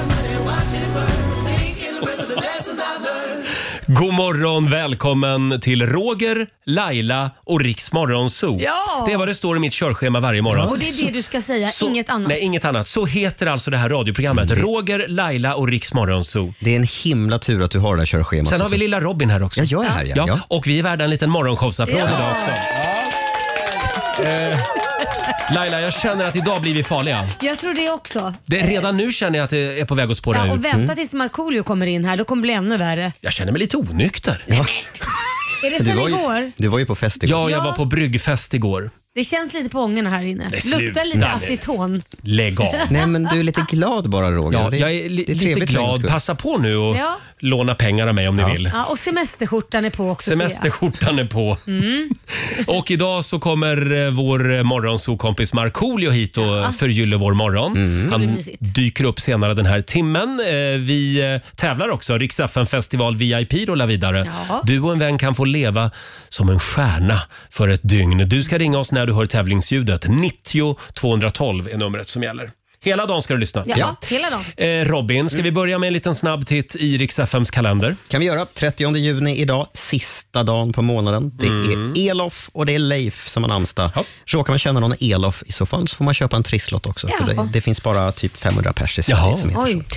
God morgon, välkommen till Roger, Laila och Riksmorgonzoo. Ja! Det är vad det står i mitt körschema varje morgon. Och det är det du ska säga, Så- inget annat. Nej, inget annat. Så heter alltså det här radioprogrammet. Roger, Laila och Riksmorgonzoo. Det är en himla tur att du har det här körschemat. Sen har vi lilla Robin här också. Ja, jag är här ja. ja. Och vi är värda en liten morgonshowsapplåd Ja! idag också. Eh, Laila, jag känner att idag blir vi farliga. Jag tror det också. Det, redan nu känner jag att det är på väg att spåra Ja, ur. och vänta tills Markoolio kommer in här, då kommer det bli ännu värre. Jag känner mig lite onykter. Är det Du, sen var igår? ju, du var ju på fest igår. Ja, jag Ja. var på bryggfest igår. Det känns lite på ångorna här inne. Nej, sluta Luktar lite nu. aceton. Lägg av. Nej men du är lite glad bara Roger. Ja, Det- jag är li- det lite trevligt för din glad. skull. Passa på nu och Ja. låna pengar av mig om ni vill. Ja, och semesterskjortan är på också. ser jag. Semesterskjortan är på. Mm. och idag så kommer eh, vår eh, morgonsokompis Markoolio hit och ja. förgyller vår morgon. bli Han mysigt. dyker upp senare den här timmen. Eh, Vi eh, tävlar också. Rix FM festival VIP rullar vidare. Ja. Du och en vän kan få leva som en stjärna för ett dygn. Du ska ringa oss när du hör tävlingsljudet. 90 212 är numret som gäller. Hela dagen ska du lyssna. Ja, hela dagen. Eh, Robin, ska vi börja med en liten snabb titt i Rix FMs kalender? Kan vi göra. 30 juni idag, sista dagen på månaden. Det är Elof och det är Leif som har namnsdag. Mm. Ja. Råkar man känna någon Elof i så fall så får man köpa en trisslott också. För Jaha. det, det finns bara typ 500 pers i Jaha. Sverige som heter Oj. så.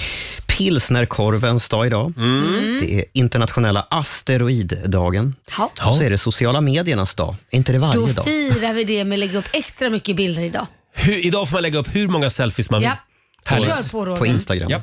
Pilsnerkorvens dag idag. Mm. Det är internationella asteroiddagen. Ja. Och så är det sociala mediernas dag. Är inte det varje Då dag? firar vi det med att lägga upp extra mycket bilder idag. Hur, idag får man lägga upp hur många selfies man vill. Ja. Härligt. Kör på Roger. Mm. På Instagram. Ja.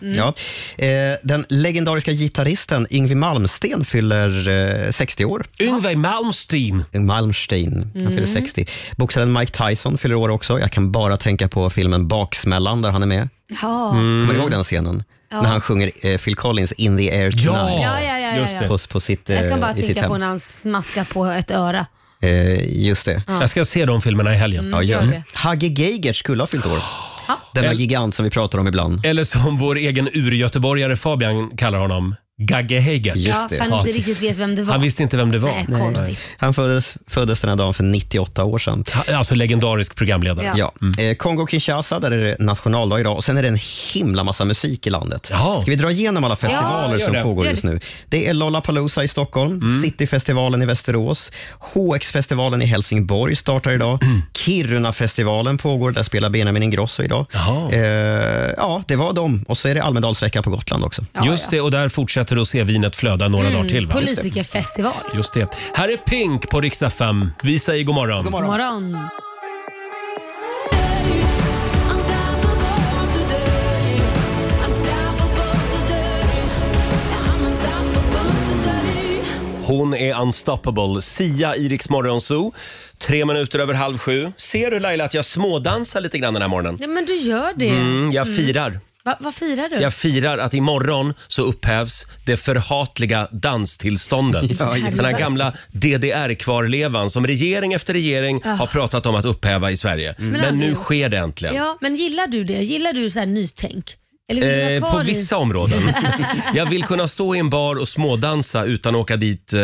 Ja. Eh, den legendariska gitarristen Yngwie Malmsteen fyller eh, 60 år. Yngve Malmsteen. Malmsteen, han fyller Mm. 60. Boxaren Mike Tyson fyller år också. Jag kan bara tänka på filmen Baksmällan där han är med. Ja. Kommer du ihåg den scenen? När han sjunger eh, Phil Collins In the air tonight. Ja, ja, ja, ja, just ja. det. På, på sitt, eh, Jag kan bara i sitt tänka på hem. när han smaskar på ett öra. Eh, just det. Jag ska se de filmerna i helgen. Ja, gör gör det. det. Hagge Geigert skulle ha fyllt år. Ja. Denna gigant som vi pratar om ibland. Eller som vår egen urgöteborgare Fabian kallar honom, Gagge Heigert. Just Ja, det. för han inte riktigt vet vem det var. Han visste inte vem det var. Nej, konstigt. Han föddes, föddes den här dagen för 98 år sedan. Ha- Alltså legendarisk programledare. Ja. Ja. Eh, Kongo-Kinshasa, där är det nationaldag idag och sen är det en himla massa musik i landet. Jaha. Ska vi dra igenom alla Ja, festivaler gör som det. pågår Gör just det. nu? Det är Lollapalooza i Stockholm, Cityfestivalen i Västerås, HX-festivalen i Helsingborg startar idag, Kiruna-festivalen pågår, där spelar Benjamin Ingrosso idag. Jaha. Eh, ja, det var dem. Och så är det Almedalsveckan på Gotland också. Ja, Mm, Just det, och där fortsätter rosévinet flöda några dagar till. Va? Politikerfestival. Just det. Här är Pink på riksdag 5. Vi säger god morgon. God morgon. Hon är unstoppable. Sia i Rix Morgon Zoo. Tre minuter över halv sju. Ser du Laila att jag smådansar lite grann den här morgonen? Nej, men du gör det. Mm, jag firar. Va, vad firar du? Jag firar att imorgon så upphävs det förhatliga danstillståndet. Ja, just Den här det. gamla DDR-kvarlevan som regering efter regering har pratat om att upphäva i Sverige. Men, nu aldrig. sker det äntligen. Ja, men gillar du det? Gillar du så här nytänk? Eller vill du vara Eh, på kvar i- vissa områden. Jag vill kunna stå i en bar och smådansa utan att åka dit, eh,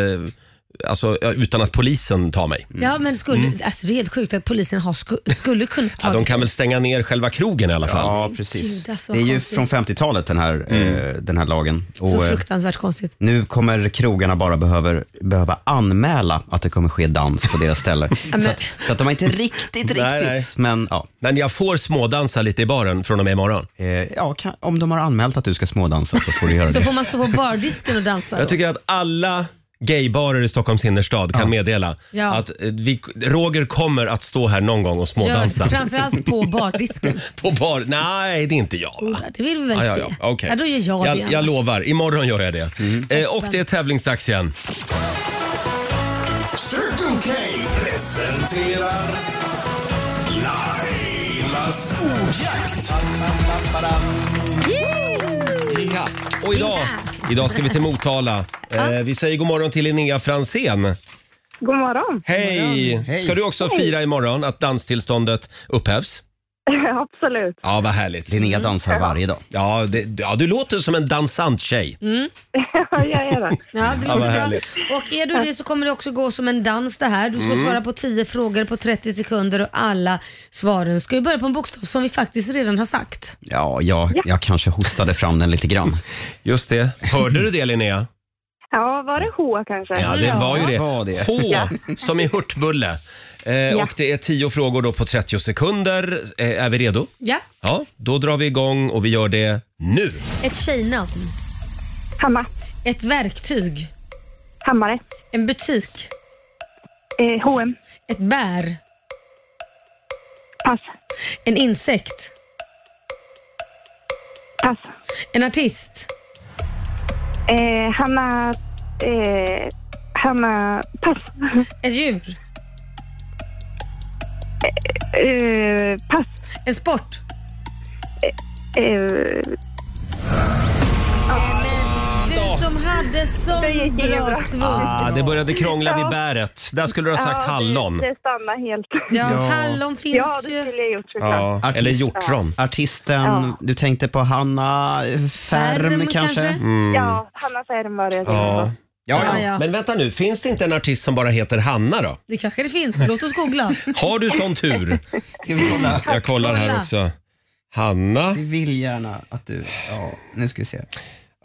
alltså eh, utan att polisen tar mig. Ja, men skulle, alltså, det är helt sjukt att polisen har sku, skulle kunna ta Mm. Ja, de det. kan väl stänga ner själva krogen i alla fall. Ja, precis. Gud, alltså, det vad är ju konstigt. från 50-talet den här, eh, den här lagen. Så Och, eh, fruktansvärt konstigt. Nu kommer krogarna bara behöver, behöva anmäla att det kommer ske dans på deras ställe. så, att, så att de har inte riktigt, riktigt, Nej, nej. men ja. Men jag får smådansa lite i baren från och med imorgon. Eh, ja kan, om de har anmält att du ska smådansa så får du göra Så det. får man stå på bardisken och dansa Jag då. tycker att alla gaybarer i Stockholms innerstad kan meddela Ja. att eh, vi, Roger kommer att stå här någon gång och Gör smådansa. det. Framförallt på bardisken. På bar. Nej, det är inte jag. Va? Ola, Det vill vi väl Ja, ja, se? ja. Okej. Ja, då gör jag, det jag, jag annars. Mm. lovar, imorgon gör jag det. Eh, och det är tävlingsdags igen. Circle K presenterar Lailas ordjakt. Ja. Och idag, idag ska vi till Motala. Eh, vi säger god morgon till Linnea Fransén. God morgon. Hej! Ska du också fira imorgon att danstillståndet upphävs? Absolut. Ja, vad härligt. Linnea dansar varje dag. Mm. Ja, det, ja, du låter som en dansant tjej. jag är dags. Ja, det Ja, vad låter bra. härligt. Mm. Och är du det så kommer det också gå som en dans det här. Du ska svara på 10 frågor på 30 sekunder och alla svaren ska ju börja på en bokstav som vi faktiskt redan har sagt. Ja, jag, jag kanske hostade fram den lite grann. Just det. Hörde du det Linnea? Ja, var det H kanske? Ja, det Ja. var ju det. Var det? H som i hurtbulle. Eh, Och det är tio frågor då på 30 sekunder. Eh, är vi redo? Ja. Ja, då drar vi igång och vi gör det nu. Ett tjejnamn, Hammar. ett verktyg, Hammare. en butik, Eh, H&M. ett bär, Pass. en insekt, Pass. en artist, Eh, Hanna... Eh, Hanna... Pass. ett djur, Eh, pass. en sport. Eh, Du som hade så Det gick inget bra bra. svor. Ah, det började krångla vid Ja. bäret. Där skulle du ha sagt ja, hallon. Det, det stannar helt. Ja, hallon finns Ja, det ju. skulle jag gjort såklart. Ja, Artist. eller hjortron. Artisten, Ja. du tänkte på Hanna Färm, Färm, kanske? Mm. kanske? Ja, Hanna Färmare. det Ja. var. Ja, ja. Men vänta nu, finns det inte en artist som bara heter Hanna då? Det kanske det finns. Låt oss googla. Har du sån tur? Ska vi kolla? Jag kollar här Kolla. också. Hanna, Vi vill gärna att du... Ja, nu ska vi se.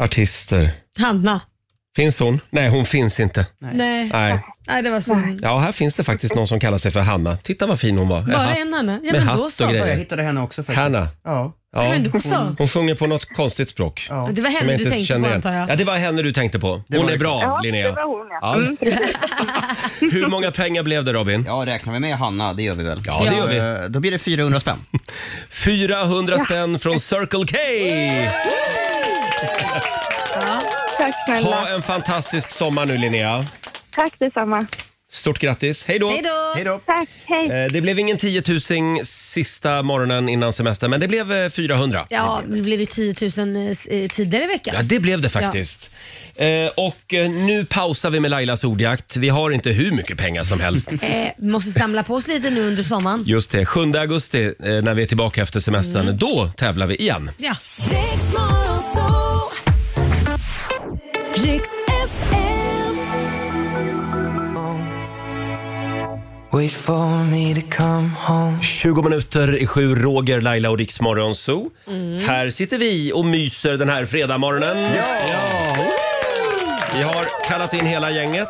artister. Hanna. Finns hon? Nej, hon finns inte. Nej. Nej. Nej, det var synd. Ja, här finns det faktiskt någon som kallar sig för Hanna. Titta vad fin hon var. Bara Jaha. en Hanna? Ja, Med men hatt då och så. grejer. Jag hittade henne också faktiskt. Hanna. Ja. Ja. Men då så. Hon sjunger på något konstigt språk. Ja. Det var Som henne jag du inte tänkte på känner igen. antar jag. Ja, det var henne du tänkte på. var Mm. Hon är det. bra, Ja, Linnea. det var hon ja. Ja. Hur många pengar blev det Robin? Ja, räknar vi med Hanna, det gör vi väl? Ja, det gör vi. Eh, Då blir det 400 spänn. 400 spänn från Circle K! Tack snälla. Ha en fantastisk sommar nu Linnea. Tack detsamma. Stort grattis. Hej då! Hej då! Hej då. Tack, hej. Eh, Det blev ingen 10 000 sista morgonen innan semestern, men det blev eh, 400. Ja, det blev ju 10 000 eh, tidigare i veckan. Ja, det blev det Ja. faktiskt. Eh, och eh, nu pausar vi med Lailas ordjakt. Vi har inte hur mycket pengar som helst. Eh, vi måste samla på oss lite nu under sommaren. Just det, 7 augusti eh, när vi är tillbaka efter semestern, då tävlar vi igen. Ja. Riks FM. Wait for me to come home 20 minuter i sju, Roger, Laila och Riks Morgonzoo. Här sitter vi och myser den här fredagmorgonen. Vi har kallat in hela gänget.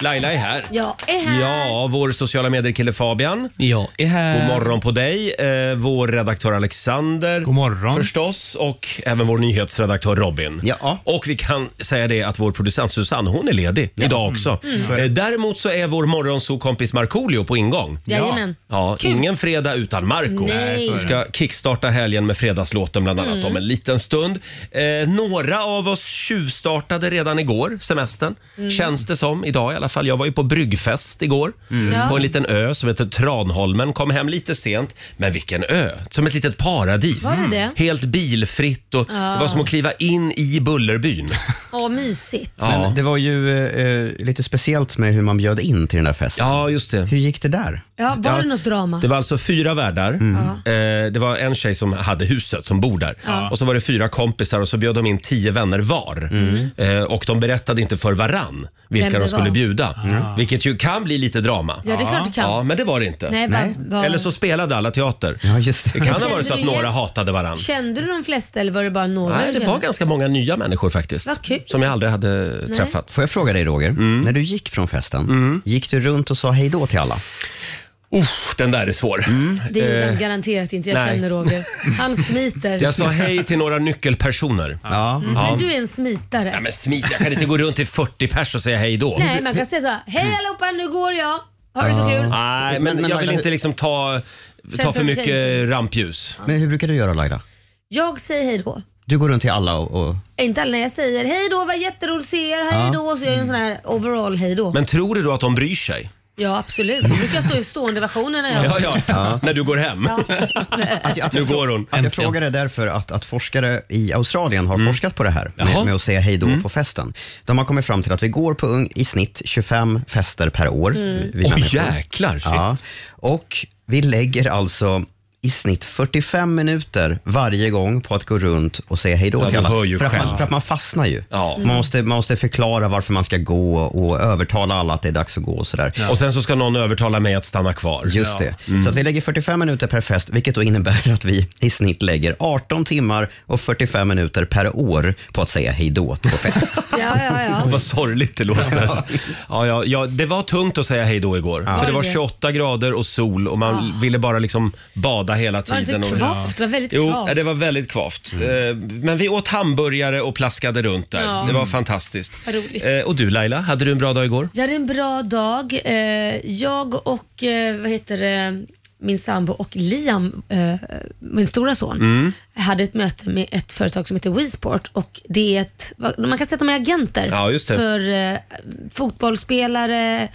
Laila är här. Jag är här. Ja, vår sociala medier-kille Fabian. Jag är här. God morgon på dig. Eh, vår redaktör Alexander. God morgon. Förstås. Och även vår nyhetsredaktör Robin. Ja. Och vi kan säga det att vår producent Susanne, hon är ledig idag också. Mm. Eh, däremot så är vår morgonsokompis Markoolio på ingång. Jajamän. Ja, Kul. ingen fredag utan Marco. Nej. Vi ska kickstarta helgen med fredagslåten bland annat Mm. om en liten stund. Eh, några av oss tjuvstartade redan igår, semestern. Mm. Känns det som, idag i alla fall. Jag var ju på bryggfest igår Mm. Ja. på en liten ö som heter Tranholmen. Kom hem lite sent, men vilken ö! Som ett litet paradis. Var det det? Helt bilfritt och det var som att kliva in i Bullerbyn. Åh, mysigt. Ja. Men det var ju eh, lite speciellt med hur man bjöd in till den där festen. ja, just det. Hur gick det där? Ja, var det något drama? Det var alltså fyra värdar. Mm. Eh, det var en tjej som hade huset, som bor där. Och så var det fyra kompisar och så bjöd de in tio vänner var. Eh, och de berättade inte för varann vilka Mm. Vem det de skulle var. Mm. bjuda. Vilket ju kan bli lite drama. Ja, det är klart det kan. Ja, men det var det inte. Nej, va, va, Eller så spelade alla teater. Ja, just det. Det kan ha Kände varit så du att några igen- hatade varann. Kände du de flesta eller var det bara några? Nej, du det kände? var ganska många nya människor Vad faktiskt. kul. Som jag aldrig hade träffat. Får jag fråga dig Roger, Mm. när du gick från festen, gick du runt och sa hej då till alla? Uff, den där är svår. Det gjorde han garanterat inte. Jag Eh, nej. känner Roger. Han smiter. Jag sa hej till några nyckelpersoner. Ja. Men du är en smitare. Nej men smit, jag kan inte gå runt till 40 pers och säga hej då. Nej, man kan säga så här. Mm. Hej allihopa, nu går jag. Ha det så kul. Nej, men, Men- men jag vill Laila, inte hur- liksom ta, ta för of mycket attention. rampljus. Men hur brukar du göra Laila? Jag säger hej då. Du går runt till alla och... och Inte alla när jag säger hej då, vad jätteroligt att se er, hej då. Så jag gör en sån här overall hej då. Men tror du då att de bryr sig? Ja absolut, då brukar jag stå i stående versionen när jag... Ja, ja. När du går hem. att, jag- att Nu jag, frå- går hon. Att äntligen. Mm. jag frågar är därför att, att forskare i Australien har forskat på det här Jaha. Mm. med, med att säga hej då på festen. De har kommit fram till att vi går på un, i snitt 25 fester per år. vi- vi Åh människor. jäklar. shit. Ja. Och vi lägger alltså i snitt 45 minuter varje gång på att gå runt och säga hej då Ja, till du alla. hör ju för, att själv. man, för att man fastnar ju. Ja. Man, måste, man måste förklara varför man ska gå och övertala alla att det är dags att gå och sådär. Och sen så ska någon övertala mig att stanna kvar. Just det. Så Mm. att vi lägger 45 minuter per fest, vilket då innebär att vi i snitt lägger 18 timmar och 45 minuter per år på att säga hej då på fest. Ja, ja, ja. Vad sorgligt det låter. Ja, ja, ja, det var tungt att säga hej då igår. För det var det? Ah. 28 grader och sol och man ville bara liksom bada hela Var det tiden. inte och- kvavt? Det var väldigt Jo, ja, kvavt. det var väldigt kvavt. Eh, Men vi åt hamburgare och plaskade runt där. Ja. Det var fantastiskt. Vad roligt. Eh, Och du Laila, hade du en bra dag igår? Jag hade en bra dag. Eh, Jag och, eh, vad heter det, min sambo och Liam, eh, min stora son, Mm. hade ett möte med ett företag som heter WeSport och det är ett, vad- man kan sätta med agenter Ja, just det. för eh, fotbollsspelare,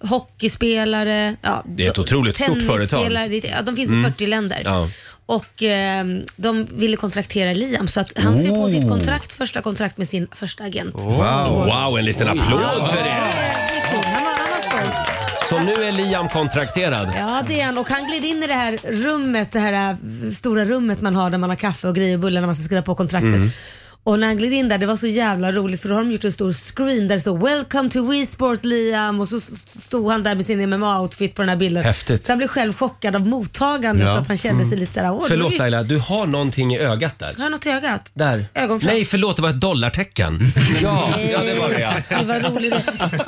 hockeyspelare, ja, Det är ett otroligt stort tennisspelare. företag. Mm. Det är- Ja, de finns i 40 länder. Ja. Och eh, de ville kontraktera Liam så att han skrev på sitt Oh. kontrakt, första kontrakt med sin första agent. Wow, wow en liten applåd för det. Det är kul. Han var, han var stolt. Så nu är Liam kontrakterad. Ja, det är han. Och han gled in i det här rummet, det här äh, stora rummet man har där man har kaffe och grejer och bullar när man ska skriva på kontraktet. Mm. Och när han gled in där, det var så jävla roligt för då har de gjort en stor screen där det står “Welcome to WeSport Liam” och så s- stod han där med sin MMA-outfit på den här bilden. Häftigt. Mm. Så han blev själv chockad av mottagandet, Ja. att han kände sig lite såhär “Åh, det var Förlåt ju- Laila, du har någonting i ögat där. Har jag något i ögat?” Där. Ögonfrans. Nej, förlåt, det var ett dollartecken. Ja, ja det var det ja. Det var roligt.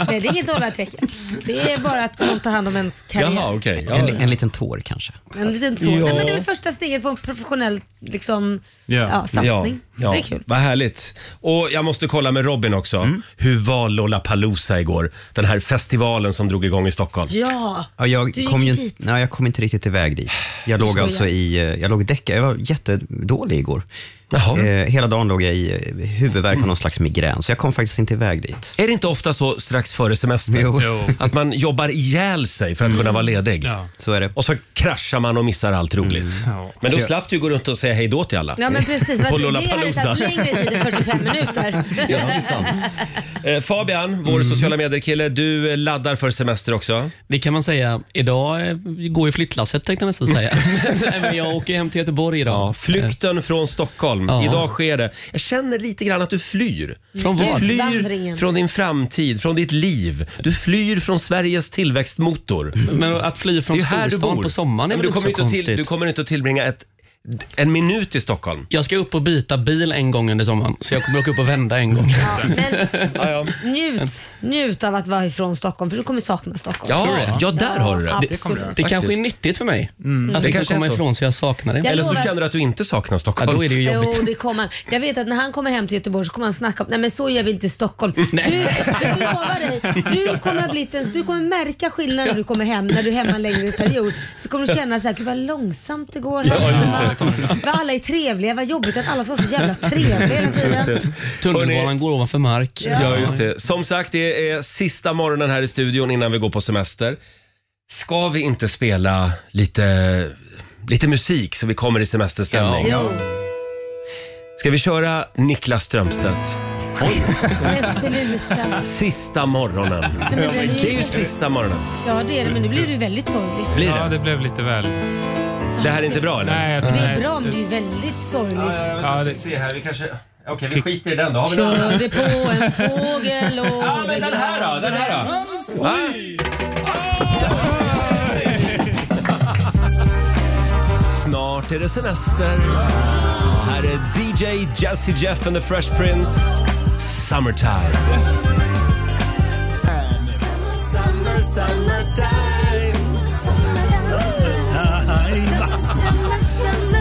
Nej, det är inget dollartecken. Det är bara att någon tar hand om ens karriär. Jaha, okej. En, Ja. en liten tår kanske. En liten tår. Nej, men det är väl första steget på en professionell liksom, Ja. ja, satsning. Ja, Så ja. det är kul. Vad härligt. Och jag måste kolla med Robin också. Mm. Hur var Lollapalooza igår? Den här festivalen som drog igång i Stockholm. Ja, Ja, jag, Du gick kom ju, dit. Nej, jag kom inte riktigt iväg dit. Jag låg skojar. alltså i, eh, jag låg i däcka. Jag var jättedålig igår. Jaha. Eh, hela dagen låg jag i eh, huvudvärk och någon slags migrän, så jag kom faktiskt inte iväg dit. Är det inte ofta så strax före semestern? Jo. Jo. Mm. Att man jobbar ihjäl sig för att kunna vara ledig. Ja. Mm. Så är det. Och så kraschar man och missar allt roligt. Ja. Men då slapp du gå runt och säga hej då till alla. ja men precis. På På det hade Lollapalooza. tagit längre tid än 45 minuter. Eh, Fabian, Mm. vår sociala medier-kille, du eh, laddar för semester också. Det kan man säga. Idag eh, går ju flyttlasset tänkte jag nästan säga. Nej, men jag åker hem till Göteborg idag. Flykten från Stockholm. Ja. Idag sker det. Jag känner lite grann att du flyr. Från Du vad? Utvandringen. flyr från din framtid, från ditt liv. Du flyr från Sveriges tillväxtmotor. Men att fly Det är Mm. från ju här du storstan bor. på sommaren Men är väl du, inte kommer så inte att till, konstigt? du kommer inte att tillbringa ett, en minut i Stockholm. Jag ska upp och byta bil en gång under sommaren, så jag kommer åka upp och vända en gång. Ja, men Ja, ja. njut, njut av att vara ifrån Stockholm för du kommer sakna Stockholm. Tror Ja, du? ja, där har du det. absolut. Det kanske är nyttigt för mig att liksom Mm. kanske är komma så. ifrån så jag saknar det. Jag Eller så lovar. känner du att du inte saknar Ja, då är Stockholm. det ju jobbigt. Jo, det kommer han. Jag vet att när han kommer hem till Göteborg så kommer han snacka om, nej men så gör vi inte i Stockholm. Du, jag lovar dig, du kommer, ha blivit en, du kommer märka skillnaden när du kommer hem, när du är hemma en längre period. Så kommer du känna såhär, gud vad långsamt det går här. Vad alla är trevliga, vad jobbigt att alla ska vara så jävla trevliga hela tiden. Tunnelbanan går ovanför mark. Ja, just det. Som sagt, det är sista morgonen här i studion innan vi går på semester. Ska vi inte spela lite, lite musik så vi kommer i semesterstämning? Jo, Ska vi köra Niklas Strömstedt? men sluta. Sista morgonen. Nej, men det är Det är ju ju- sista morgonen. Ja det är det, men nu blir det ju väldigt sorgligt. Blir Ja, det? det blev lite väl. Det här är inte bra eller? Nej, jag- Det är nej, bra men det är ju väldigt sorgligt. Ja, det- se här, vi kanske... Okej, vi skiter i den då. Har vi någon- Körde på en fågel och... Ja, men den här då? Den här då? Va? Snart är det semester. Här är DJ Jazzy Jeff and the Fresh Prince. Summertime.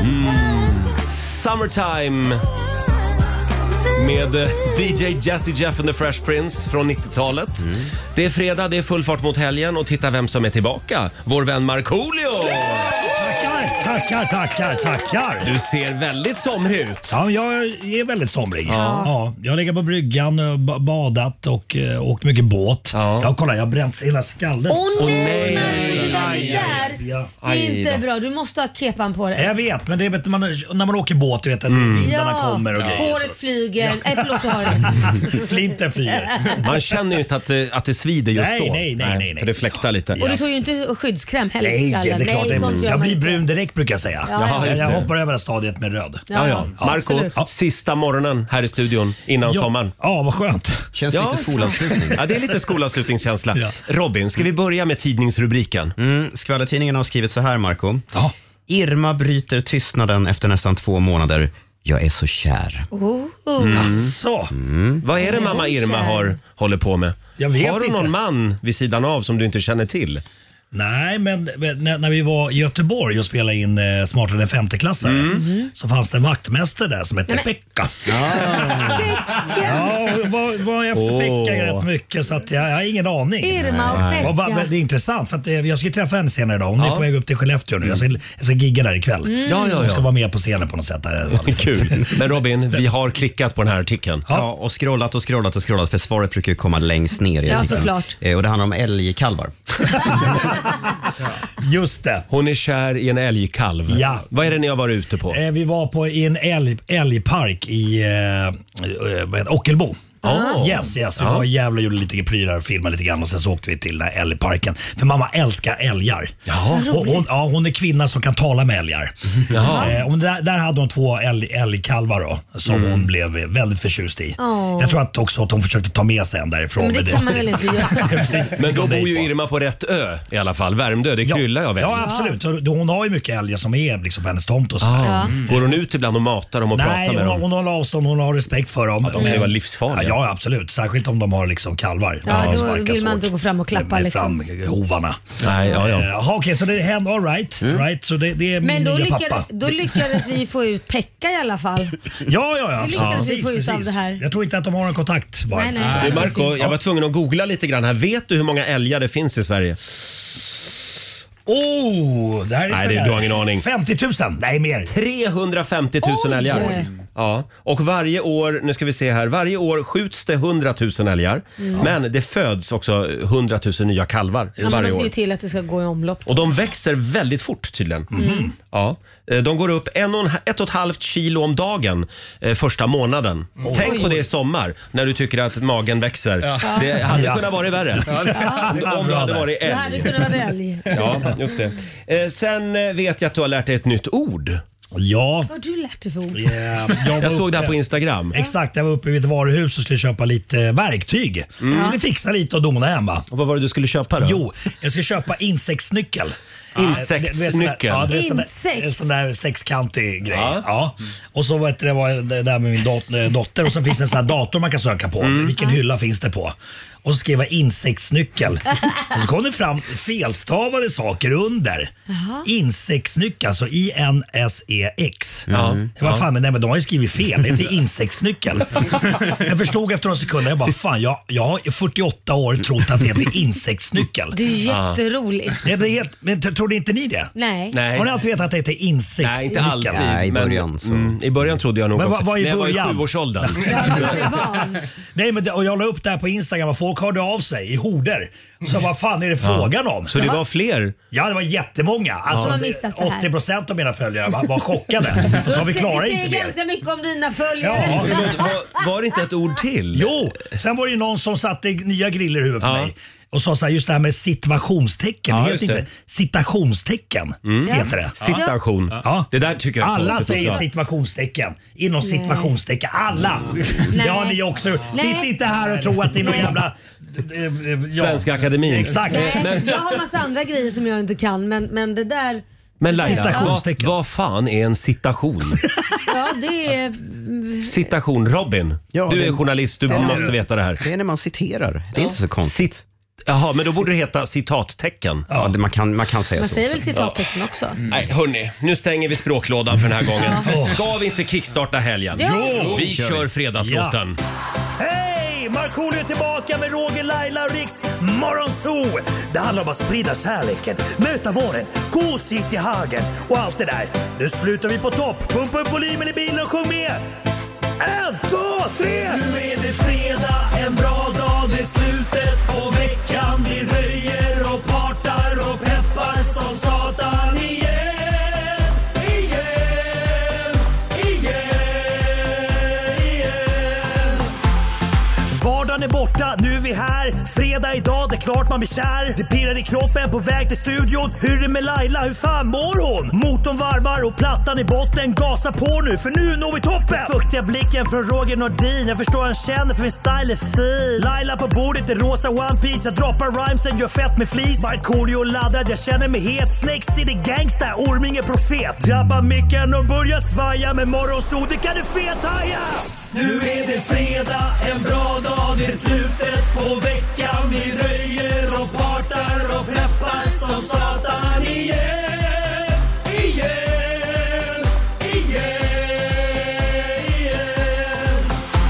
Hmm. Summertime med eh, DJ Jazzy Jeff and the Fresh Prince från 90-talet. Det är fredag, det är full fart mot helgen och titta vem som är tillbaka. Vår vän Markoolio! Tackar, tackar, tackar, tackar. Du ser väldigt somrig ut. Ja, jag är väldigt somrig. Ja. jag ligger på bryggan, och ba- badat och eh, åkt mycket båt. Ja. Ja. kolla, jag har bränt hela skallen. Åh nej! Nej. det där, aj, det där Ja. det är Aj inte då. bra. Du måste ha kepan på dig. Jag vet, men det är bättre man, när man åker båt, du vet att Mm. vindarna kommer och grejer. håret flyger. Nej, Eh, förlåt, du har det. Flinten flyger. Man känner ju inte att det, att det svider just Nej, då. nej, nej, nej, nej. För det fläktar lite. Och du tog ju inte skyddskräm heller. Nej, det är Nej, klart. det är- sånt gör jag man blir inte. brun direkt brukar jag säga. Ja, Jaha, ja. just jag det. hoppar över det här stadiet med röd. Ja, ja. Marco, absolut. sista morgonen här i studion innan sommaren. Ja, vad skönt. Känns Ja. lite skolavslutning. Ja, det är lite skolavslutningskänsla. Ja. Robin, ska vi börja med tidningsrubriken? Mm, Skvallertidningen har skrivit så här, Marco. Ja. Irma bryter tystnaden efter nästan två månader. Jag är så kär. Oh. Mm. Så. Vad är det mamma Irma har, håller på med? Jag vet har hon inte. någon Mm. man vid sidan av som du inte känner till? Nej, men men när, när vi var i Göteborg och spelade in eh, Smartare än femteklassare så fanns det en vaktmästare där som hette Mm. Nej, men- Pekka. Ja, och var, var efter Åh. Pekka rätt mycket så att jag, jag har ingen aning. Irma och Ja, va- Pekka. men Det är intressant för att eh, jag ska träffa henne senare idag. Hon är Ja. Mm. på väg upp till Skellefteå nu. Jag ska, jag ska gigga där ikväll. Ja, ja, Hon ska ja. vara med på scenen på något sätt. Där. Kul. Men Robin, vi har klickat på den här artikeln. Ja. Ja, och scrollat och scrollat och scrollat för svaret brukar ju komma längst ner. i Ja, artikeln. såklart. Eh, Och det handlar om älgkalvar. Just det. Hon är kär i en älgkalv. Ja. Vad är det ni har varit ute på? Eh, Vi var på, i en älg, älgpark i eh, eh, vad heter- Ockelbo. Ah. Yes, yes. Vi var i Gävle och gjorde lite prylar, filmade lite grann och sen så åkte vi till den här älgparken. För mamma älskar älgar. Jaha. Hon, hon, ja, hon är kvinna som kan tala med älgar. Jaha. Eh, och där, där hade hon två älg, älgkalvar då, som Mm. hon blev väldigt förtjust i. Åh. Jag tror att också att hon försökte ta med sig en därifrån. Men det kan man väl inte göra? Men då Det är bor ju på. Irma på rätt ö i alla fall. Värmdö, det Ja. kryllar jag väl. Ja, absolut. Så Hon har ju mycket älgar som är liksom på hennes tomt och sådär. Ah. Går hon ut ibland och matar dem och Nej, pratar med hon, har- dem? hon håller avstånd, hon har respekt för dem. de kan ju Men- vara livsfarliga. Ja, ja, absolut. Särskilt om de har liksom kalvar. Ja, De då sparkas vill man hårt. inte gå fram och klappa, liksom. Med Fram hovarna. Nej, ja, ja. Mm. Eh, Jaha, okej, så det hände. All right. right. Så det, det är min Men då, nya lyckades, pappa. då lyckades vi få ut Pekka i alla fall. Ja, ja, ja. Det lyckades vi precis, få ut av precis. det här. Jag tror inte att de har en kontakt bara. Nej, nej. Du Marco, jag var tvungen att googla lite grann här. Vet du hur många älgar det finns i Sverige? Oh, det här är Nej, så det- där. du har ingen aning. 50 000? Nej, mer. 350 000 Oj! älgar. Ja. Och varje år, nu ska vi se här, varje år skjuts det 100 000 älgar. Men det föds också 100 000 nya kalvar Mm. Ja, Man varje måste ju år. till att det ska gå i omlopp. Och de växer väldigt fort tydligen. Mm. Ja. Eh, De går upp en och en, ha- ett och ett halvt kilo om dagen eh, första månaden. Tänk på det i sommar när du tycker att magen växer. Det hade Ja. kunnat vara värre. Om du hade varit Det älg. hade kunnat vara älg. Ja, just det. Eh, sen eh, vet jag att du har lärt dig ett nytt ord. Ja. Vad har du lärt dig för ord? eh, var Jag såg det här uppe- på Instagram. Exakt, jag var uppe vid ett varuhus och skulle köpa lite verktyg. Mm. Jag skulle fixa lite och dona hemma. Och vad var det du skulle köpa då? Jo, jag ska köpa insektsnyckel. Insektsnyckel? Ja, det är sån där- Insekt. En sån där sexkantig grej. Ja. Ja. Och så vet du, det var jag där med min dot eh, dotter och så finns det en sån här dator man kan söka på. Mm. Vilken hylla finns det på? Och så skrev jag insektsnyckel. och så kom det fram felstavade saker under. Insektsnyckel, alltså E I-N-S-E-X. Jag bara, fan, men, nej, men de har ju skrivit fel. Det heter insektsnyckel. jag förstod efter några sekunder, jag bara, fan jag, jag har i 48 år trott att det heter insektsnyckel. Det är jätteroligt. Det blir helt, men t- trodde inte ni det? Nej. Nej. Har ni alltid vetat att det heter insektsnyckel? Nej, inte alltid. Nej, i men- början så. mm, I början trodde jag nog Men vad- också. vad i När jag var i början? sjuårsåldern. Man Alltså, är van. Nej, men det, och jag la upp det här på Instagram och folk hörde av sig i horder. Så vad fan är det frågan om? Så det var fler. Ja, det var jättemånga. Alltså, Som har missat det här. 80 procent av mina följare var, var chockade. Så vi klarar Det inte säger mer. ganska mycket om dina följare. Ja. Var, var det inte ett ord till? Jo, sen var det ju någon som satte nya griller i huvudet på Ja. mig. Och sa så här, just det här med situationstecken. Ja, det just Mm. heter inte, citationstecken heter det. Situation. Ja. Det där tycker jag är Alla konstigt säger också. situationstecken. Inom situationstecken. Alla! Det har ni också. Sitt inte här och tro att det är någon Nej. jävla... eh, eh, ja. Svenska Akademin. Exakt. Nej, Men- Jag har massa andra grejer som jag inte kan men, men det där, Men Laila, vad, Citationstecken. vad fan är en citation? ja det är... Citation. Robin, Ja, du är det- journalist. Du Ja. måste veta det här. Det är när man citerar. Det är inte så konstigt. Cit- Jaha, men då borde det heta citattecken. Ja, det, man, kan, man kan säga Man så. säger väl också. citattecken också? Mm. Nej, hörni. Nu stänger vi språklådan för den här gången. Ska vi inte kickstarta helgen? Jo! Vi kör fredagslåten. Hej! Markoolio är tillbaka med Roger, Laila och Riks Morgonzoo! Det handlar om att sprida kärleken, möta våren, gosigt i hagen och allt det där. Nu slutar vi på topp! Pumpa upp volymen i bilen och sjung med! En, två, tre! Nu är det fredag, en bra dag, det är slutet på veckan. Vi röjer och partar och peppar är borta, nu är vi här. Fredag idag, det är klart man blir kär. Det pirrar i kroppen på väg till studion. Hur är det med Laila, hur fan mår hon? Motorn varvar och plattan i botten. Gasa på nu, för nu når vi toppen! Den fuktiga blicken från Roger Nordin. Jag förstår han känner för min style är fin. Laila på bordet i rosa One Piece Jag droppar rhymesen, gör fett med flis. Markoolio laddad, jag känner mig het. Snake City gangsta, Orminge profet. Drabbar micken och börjar svaja. Med morgonsol, det kan du fethaja! Nu är det fredag, en bra dag, det är slutet på veckan Vi röjer och partar och preppar som satan igen Igen, igen, igen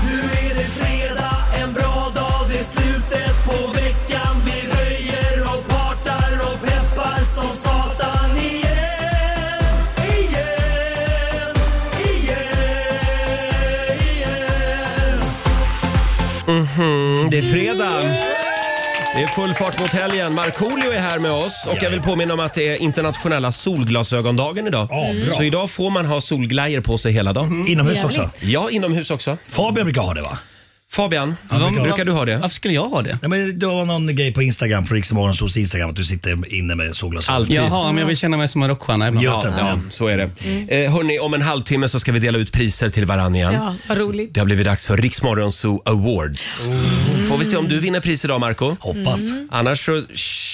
Nu är det fredag, en bra dag, det är slutet på veckan Vi röjer och partar och preppar som satan igen Igen, igen, igen Mm, det är fredag. Det är full fart mot helgen. Markoolio är här med oss och jag vill påminna om att det är internationella solglasögondagen idag. Mm. Ja, bra. Så idag får man ha solglajjor på sig hela dagen. Mm. Inomhus också. Trevligt. Ja, inomhus också. Fabian brukar ha det va? Fabian, men jag- brukar du ha det? Varför skulle jag ha det? Nej, men det var någon grej på Instagram, på Riksmorgonsols Instagram, att du sitter inne med solglasögon. Alltid. Jaha, men jag vill känna mig som en rockstjärna ibland. Just det. Ja, så är det. Eh, hörni, om en halvtimme så ska vi dela ut priser till varandra igen. Ja, vad roligt. Det har blivit dags för Riksmorgon Zoo Awards. Mm. Får vi se om du vinner pris idag, Marco? Hoppas. Annars så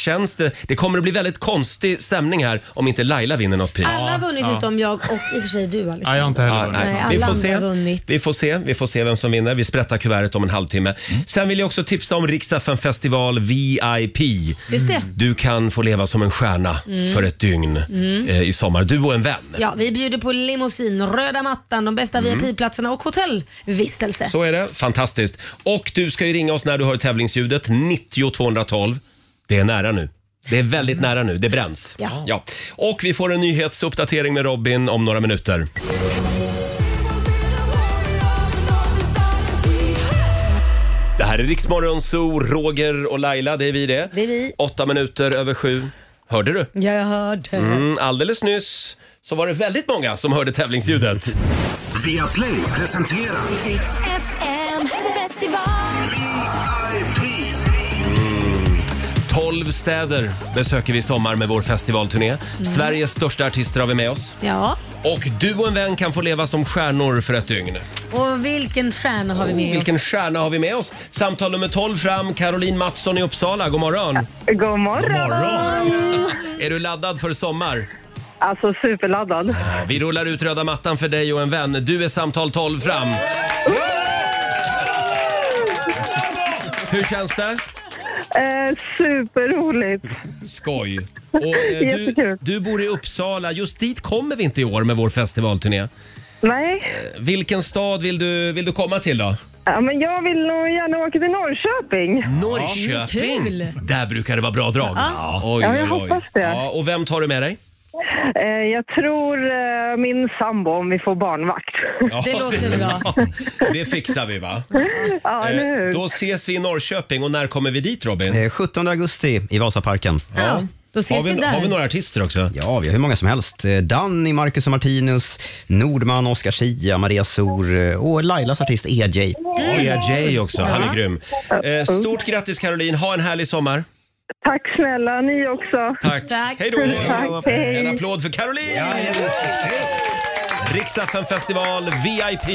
känns det... Det kommer att bli väldigt konstig stämning här om inte Laila vinner något pris. Alla har vunnit utom jag och i och för sig du Alex. Nej, jag har inte heller Ja, varit med. nej. Nej, vi, alla får andra se. har vunnit. vi får se. Vi får se vem som vinner. Vi sprättar kuvertet om en halvtimme. Mm. Sen vill jag också tipsa om Riksdagen festival VIP. Just det. Mm. Du kan få leva som en stjärna för ett dygn eh, i sommar. Du och en vän. Ja, vi bjuder på limousin, röda mattan, de bästa VIP-platserna och hotellvistelse. Så är det. Fantastiskt. Och du ska ju ringa oss när du hör tävlingsljudet. 90 212. Det är nära nu. Det är väldigt nära nu. Det bränns. Ja. Ja. Och vi får en nyhetsuppdatering med Robin om några minuter. Det här är Riksmorgon Zoo, Roger och Laila. Det är vi det. Det är vi. Åtta minuter över sju. Hörde du? Jag hörde. Mm, alldeles nyss så var det väldigt många som hörde tävlingsljudet. Via Play presenterar FM festival. VIP. 12 städer besöker vi i sommar med vår festivalturné. Mm. Sveriges största artister har vi med oss. Ja, Och du och en vän kan få leva som stjärnor för ett dygn. och vilken stjärna har vi med Vilken oss? stjärna har vi med oss? Samtal nummer 12 fram, Caroline Mattsson i Uppsala. Eh, God morgon! God morgon. Morgon. Är du laddad för sommar? Alltså superladdad. Ja, vi rullar ut röda mattan för dig och en vän. Du är samtal 12 fram. Hur känns det? Eh, superroligt. Skoj! Och, eh, du, Jättekul. du bor i Uppsala. Just dit kommer vi inte i år med vår festivalturné. Nej, Vilken stad vill du, vill du komma till då? ja, men jag vill nog gärna åka till Norrköping. Mm. Norrköping! kul. Där brukar det vara bra drag. Ja, oj, Ja, jag hoppas det. Ja, och vem tar du med dig? Eh, jag tror eh, min sambo om vi får barnvakt. Ja, Det låter bra. Det fixar vi va? ja, Eh, eller hur? Då ses vi i Norrköping och när kommer vi dit Robin? Eh, 17 augusti i Vasaparken. Ja, då Har ses vi, vi, där. har vi några artister också? Ja, vi har hur många som helst. Eh, Danny, Marcus och Martinus, Nordman, Oskar Schia, Maria Sor eh, och Lailas artist EJ. EJ också, han är grym. Eh, Stort grattis Caroline, ha en härlig sommar. Tack snälla, ni också. Tack. Tack. Hej då. Tack, hej. En applåd för Caroline! Riksdagen festival VIP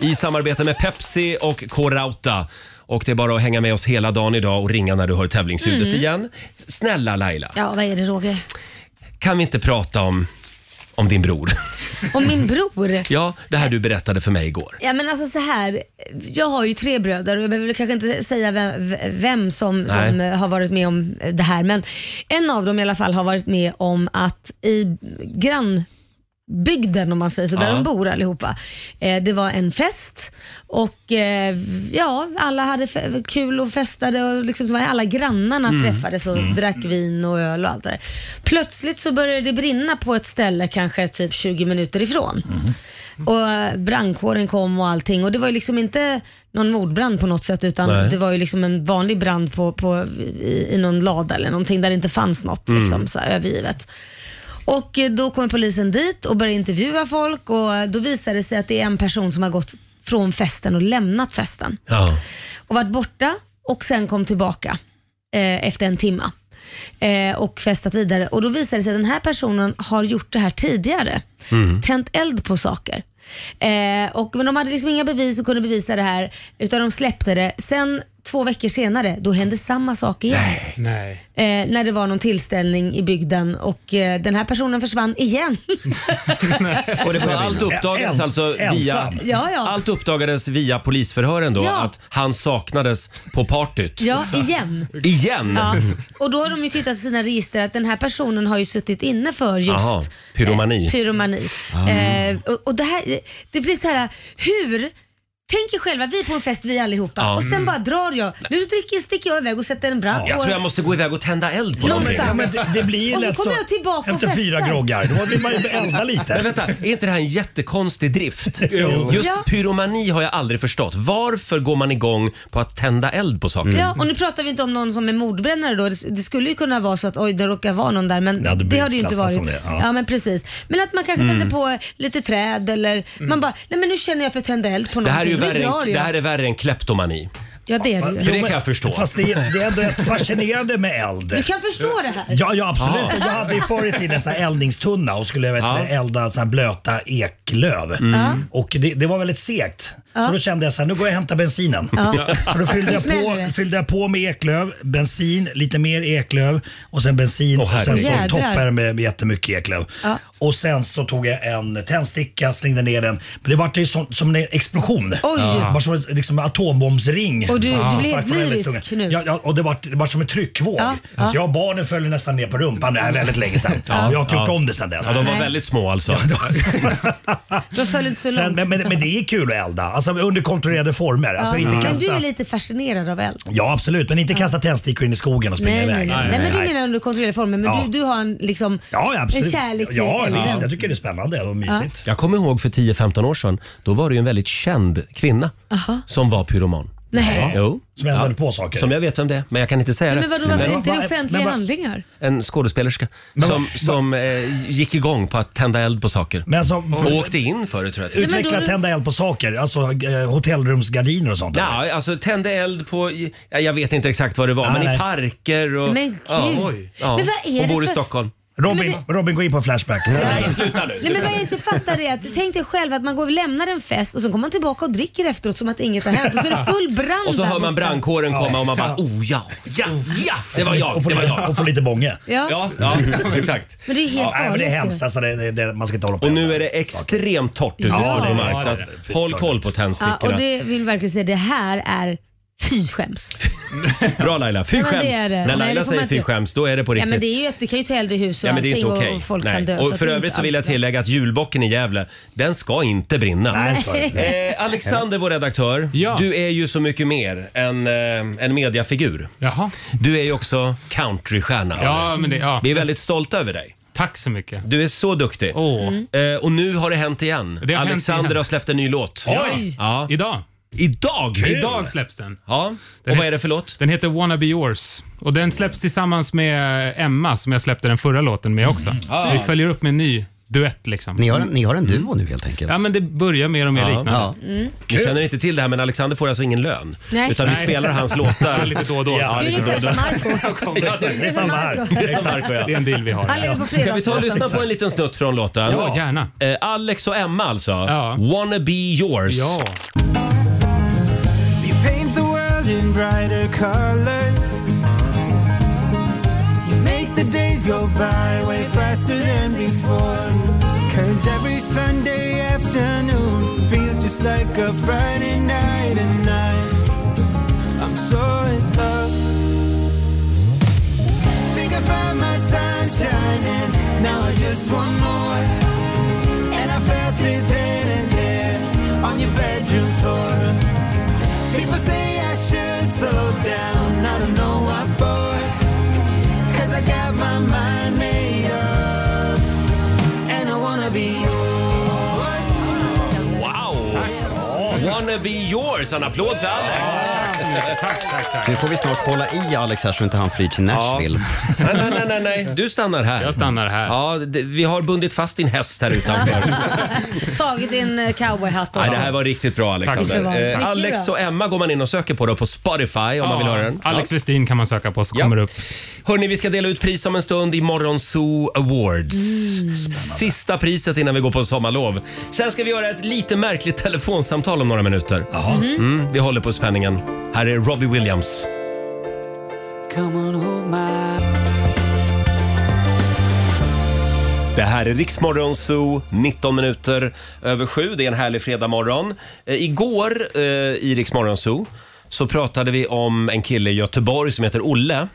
i samarbete med Pepsi och K-Rauta. Och det är bara att hänga med oss hela dagen idag och ringa när du hör tävlingsljudet Mm. igen. Snälla Laila, Ja, vad är det Roger? kan vi inte prata om, om din bror? Och min bror. Ja, det här du berättade för mig igår. Ja men alltså så här, jag har ju tre bröder och jag behöver väl kanske inte säga vem, vem som, som Nej. eh, har varit med om eh, det här men en av dem i alla fall har varit med om att i grannbygden om man säger så, där Ja. de bor allihopa. Eh, det var en fest och eh, ja, alla hade fe- kul och festade och liksom, så var alla grannarna Mm. träffades och drack vin och öl och allt det där. Plötsligt så började det brinna på ett ställe kanske typ 20 minuter ifrån. Mhm. Och eh, brandkåren kom och allting och det var ju liksom inte någon mordbrand på något sätt utan Nej. det var ju liksom en vanlig brand på, på, i, i någon lada eller någonting där det inte fanns något liksom, så här, övergivet. Och eh, då kommer polisen dit och börjar intervjua folk och eh, då visar det sig att det är en person som har gått från festen och lämnat festen. Ja. och varit borta och sen kom tillbaka eh, efter en timma eh, och festat vidare. Och Då visade det sig att den här personen har gjort det här tidigare. Mm. Tänt eld på saker. Eh, och, men de hade liksom inga bevis och kunde bevisa det här utan de släppte det. Sen två veckor senare, då hände samma sak igen. Nej. Eh, när det var någon tillställning i bygden och eh, den här personen försvann igen. Och det var Ja, allt en- uppdagades alltså via, ensam. Ja, ja. Allt uppdagades via polisförhören då, Ja. att han saknades på partyt. ja, igen. Igen! Ja. Och då har de ju tittat i sina register att den här personen har ju suttit inne för just Aha, pyromani. eh, pyromani. Ah. Eh, och, och det, här, det blir så här, hur Tänk er själva, vi är på en fest vi allihopa Ja. och sen Mm. bara drar jag. Nu dricker, sticker jag iväg och sätter en brand. Jag och, tror jag måste gå iväg och tända eld på Någonstans. någonting. Ja, men det- det blir ju Och så lätt kommer så. jag tillbaka och Efter fyra festar. groggar, då vill man ju elda lite. Men vänta, är inte det här en jättekonstig drift? Jo. Just Ja. pyromani har jag aldrig förstått. Varför går man igång på att tända eld på saker? Ja, och nu pratar vi inte om någon som är mordbrännare då. Det, det skulle ju kunna vara så att oj, det råkar vara någon där men Det hade det, blivit har det ju inte klassat varit. som det, det, ja. ja. men precis. Men att man kanske Mm. tänder på lite träd eller man bara, nej men nu känner jag för att tända eld på Det här, är någonting. ju Nu värre drar än, jag. det här är värre än kleptomani. Ja det är det För det ju. kan jag förstå. Fast det, det är ändå rätt fascinerande med eld. Du kan förstå det här. Ja, ja absolut. Ah. Och Jag hade ju förr i tiden en sån här eldningstunna och skulle vet, Ja. du, elda så här blöta eklöv. Mm. Ja. Och det, det var väldigt segt. Ja. Så då kände jag så här, nu går jag och hämtar bensinen. Ja. Så då fyllde Nu jag, smäller på, det. fyllde jag på med eklöv, bensin, lite mer eklöv och sen bensin och sen så herregud. toppade jag Jädrar. det med, med jättemycket eklöv. Ja. Och sen så tog jag en tändsticka, slängde ner den. Men det var ju som, som en explosion. Oj. Ja. Bara som en liksom, en atombombsring. Och du- du Ja. blev Tack för den lyrisk historien. nu. Ja, ja, och det var, det var som en tryckvåg. Ja, ja. Så Alltså, jag och barnen följde nästan ner på rumpan. Det här är väldigt länge sedan. Ja. Jag har inte gjort Ja. om det sedan dess. Ja, de var Nej. väldigt små alltså. Du föll inte så Sen, långt. men, men, men det är kul att elda. Alltså under kontrollerade former. Alltså, Ja. inte Men kasta... du är lite fascinerad av eld? Ja absolut, men inte kasta tändstickor in i skogen och springa Nej, nej, nej. iväg. nej, men du menar under kontrollerade former, men Ja. du, du har en, liksom, Ja, ja, en absolut. kärlek till ja, elden. visst. Jag tycker det är spännande och mysigt. Jag kommer ihåg för 10-15 år sedan, då var det ju en väldigt känd kvinna Aha. som var pyroman. Nej. Jo. Som eldade på saker. Som jag vet vem det är, men jag kan inte säga det. Men vadå, varför Men- är inte det offentliga Men vad- handlingar? En skådespelerska som, som eh, gick igång på att tända eld på saker. Men alltså, och åkte in för det tror jag. till och med. Utveckla tända eld på saker, alltså eh, hotellrumsgardiner och sånt. Ja, alltså tände eld på, ja, jag vet inte exakt vad det var, Nej, men nej. i parker och... Men gud. ja, oj. ja. Men vad är Hon det bor i för- Stockholm. Robin, Robin gå in på Flashback. Nej, sluta nu. Nej, men vad jag inte fattar är att tänk dig själv att man går och lämnar en fest och så kommer man tillbaka och dricker efteråt som att inget har hänt. Och så är det full brand Och så där hör man borta. brandkåren komma och man bara oh ja, ja, ja, det var jag, Och få det var lite- jag. Och få lite bånge. Ja. Ja, ja exakt. Men det är helt Ja, Nej, men det är galet ju. hemskt. Alltså, det, det, det, man ska inte hålla på Och nu är det extremt torrt ute i Ja, Stockholm, det är- Mark, så ja, att det är det. håll koll på Ja, och tändstickorna. det vill verkligen säga, det här är fy skäms. Bra Laila, fy Ja, men det skäms. är det. När Nej, det Laila får man säger inte fy göra. skäms, då är det på Ja, riktigt. men det, är ju ett, det kan ju ta eld i hus och Ja, men det är allting inte okej. och, och folk Nej. kan dö. så Och att för det är övrigt inte så vill jag alls bra. tillägga att julbocken i Gävle, den ska inte brinna. Nej, den ska inte. Eh, Alexander, vår redaktör, du är ju så mycket mer än eh, en mediafigur. Du är ju också countrystjärna. Ja, men det- ja. Vi är väldigt stolta över dig. Tack så mycket. Du är så duktig. Eh, och nu har det hänt igen. Det har hänt Alexander igen. har släppt en ny låt. Oj. Ja. Idag. Idag? Idag släpps den. Ja. Den och vad är det för låt? Den heter Wanna Be Yours. Och den släpps tillsammans med Emma som jag släppte den förra låten med också. Så Ah. vi följer upp med en ny duett liksom. Ni har, en- ni har en duo nu helt enkelt. Ja men det börjar mer och mer Ja. liknande. Mm. Vi känner inte till det här men Alexander får alltså ingen lön. Nej. Utan vi Nej. spelar hans låtar. lite då och då. Ja, Det är lite då ungefär och då. som Marco. Ja, det är samma här. Det är, Marco, ja. Det är en deal vi har. Han lever på Ska vi ta och lyssna på en liten snutt från låten? Ja, gärna. Eh, Alex och Emma alltså. Wanna be yours. Ja. You paint the world in brighter colors. You make the days go by way faster than before. Cause every Sunday afternoon feels just like a Friday night, and I, I'm so in love. Think I found my sunshine, and now I just want more. And I felt it then and there on your bedroom floor. People say I should slow down, I don't know what for. Cause I got my mind made up, and I wanna be yours. Wow! Wanna be yours. En applåd för Alex. så mycket. Tack, tack, tack. Nu får vi snart hålla i Alex här så inte han flyr till Nashville. Nej, nej, nej, nej, nej. Du stannar här. Jag stannar här. Ja, det, vi har bundit fast din häst här utanför. Tagit din eh, cowboyhatt också. Nej, det här var riktigt bra Tack. Tack. Alexander. Eh, Alex och Emma går man in och söker på då på Spotify om man vill höra den. Alex Westin kan man söka på så kommer det upp. Hörni, vi ska dela ut pris om en stund i Morgonzoo Awards. Mm. Sista priset innan vi går på sommarlov. Sen ska vi göra ett lite märkligt telefonsamtal om några minuter. Mm, vi håller på spänningen. Här är Robbie Williams. Det här är Riksmorgon Zoo, 19 minuter över sju. Det är en härlig fredagmorgon. Eh, igår eh, i Riksmorgon Zoo så pratade vi om en kille i Göteborg som heter Olle.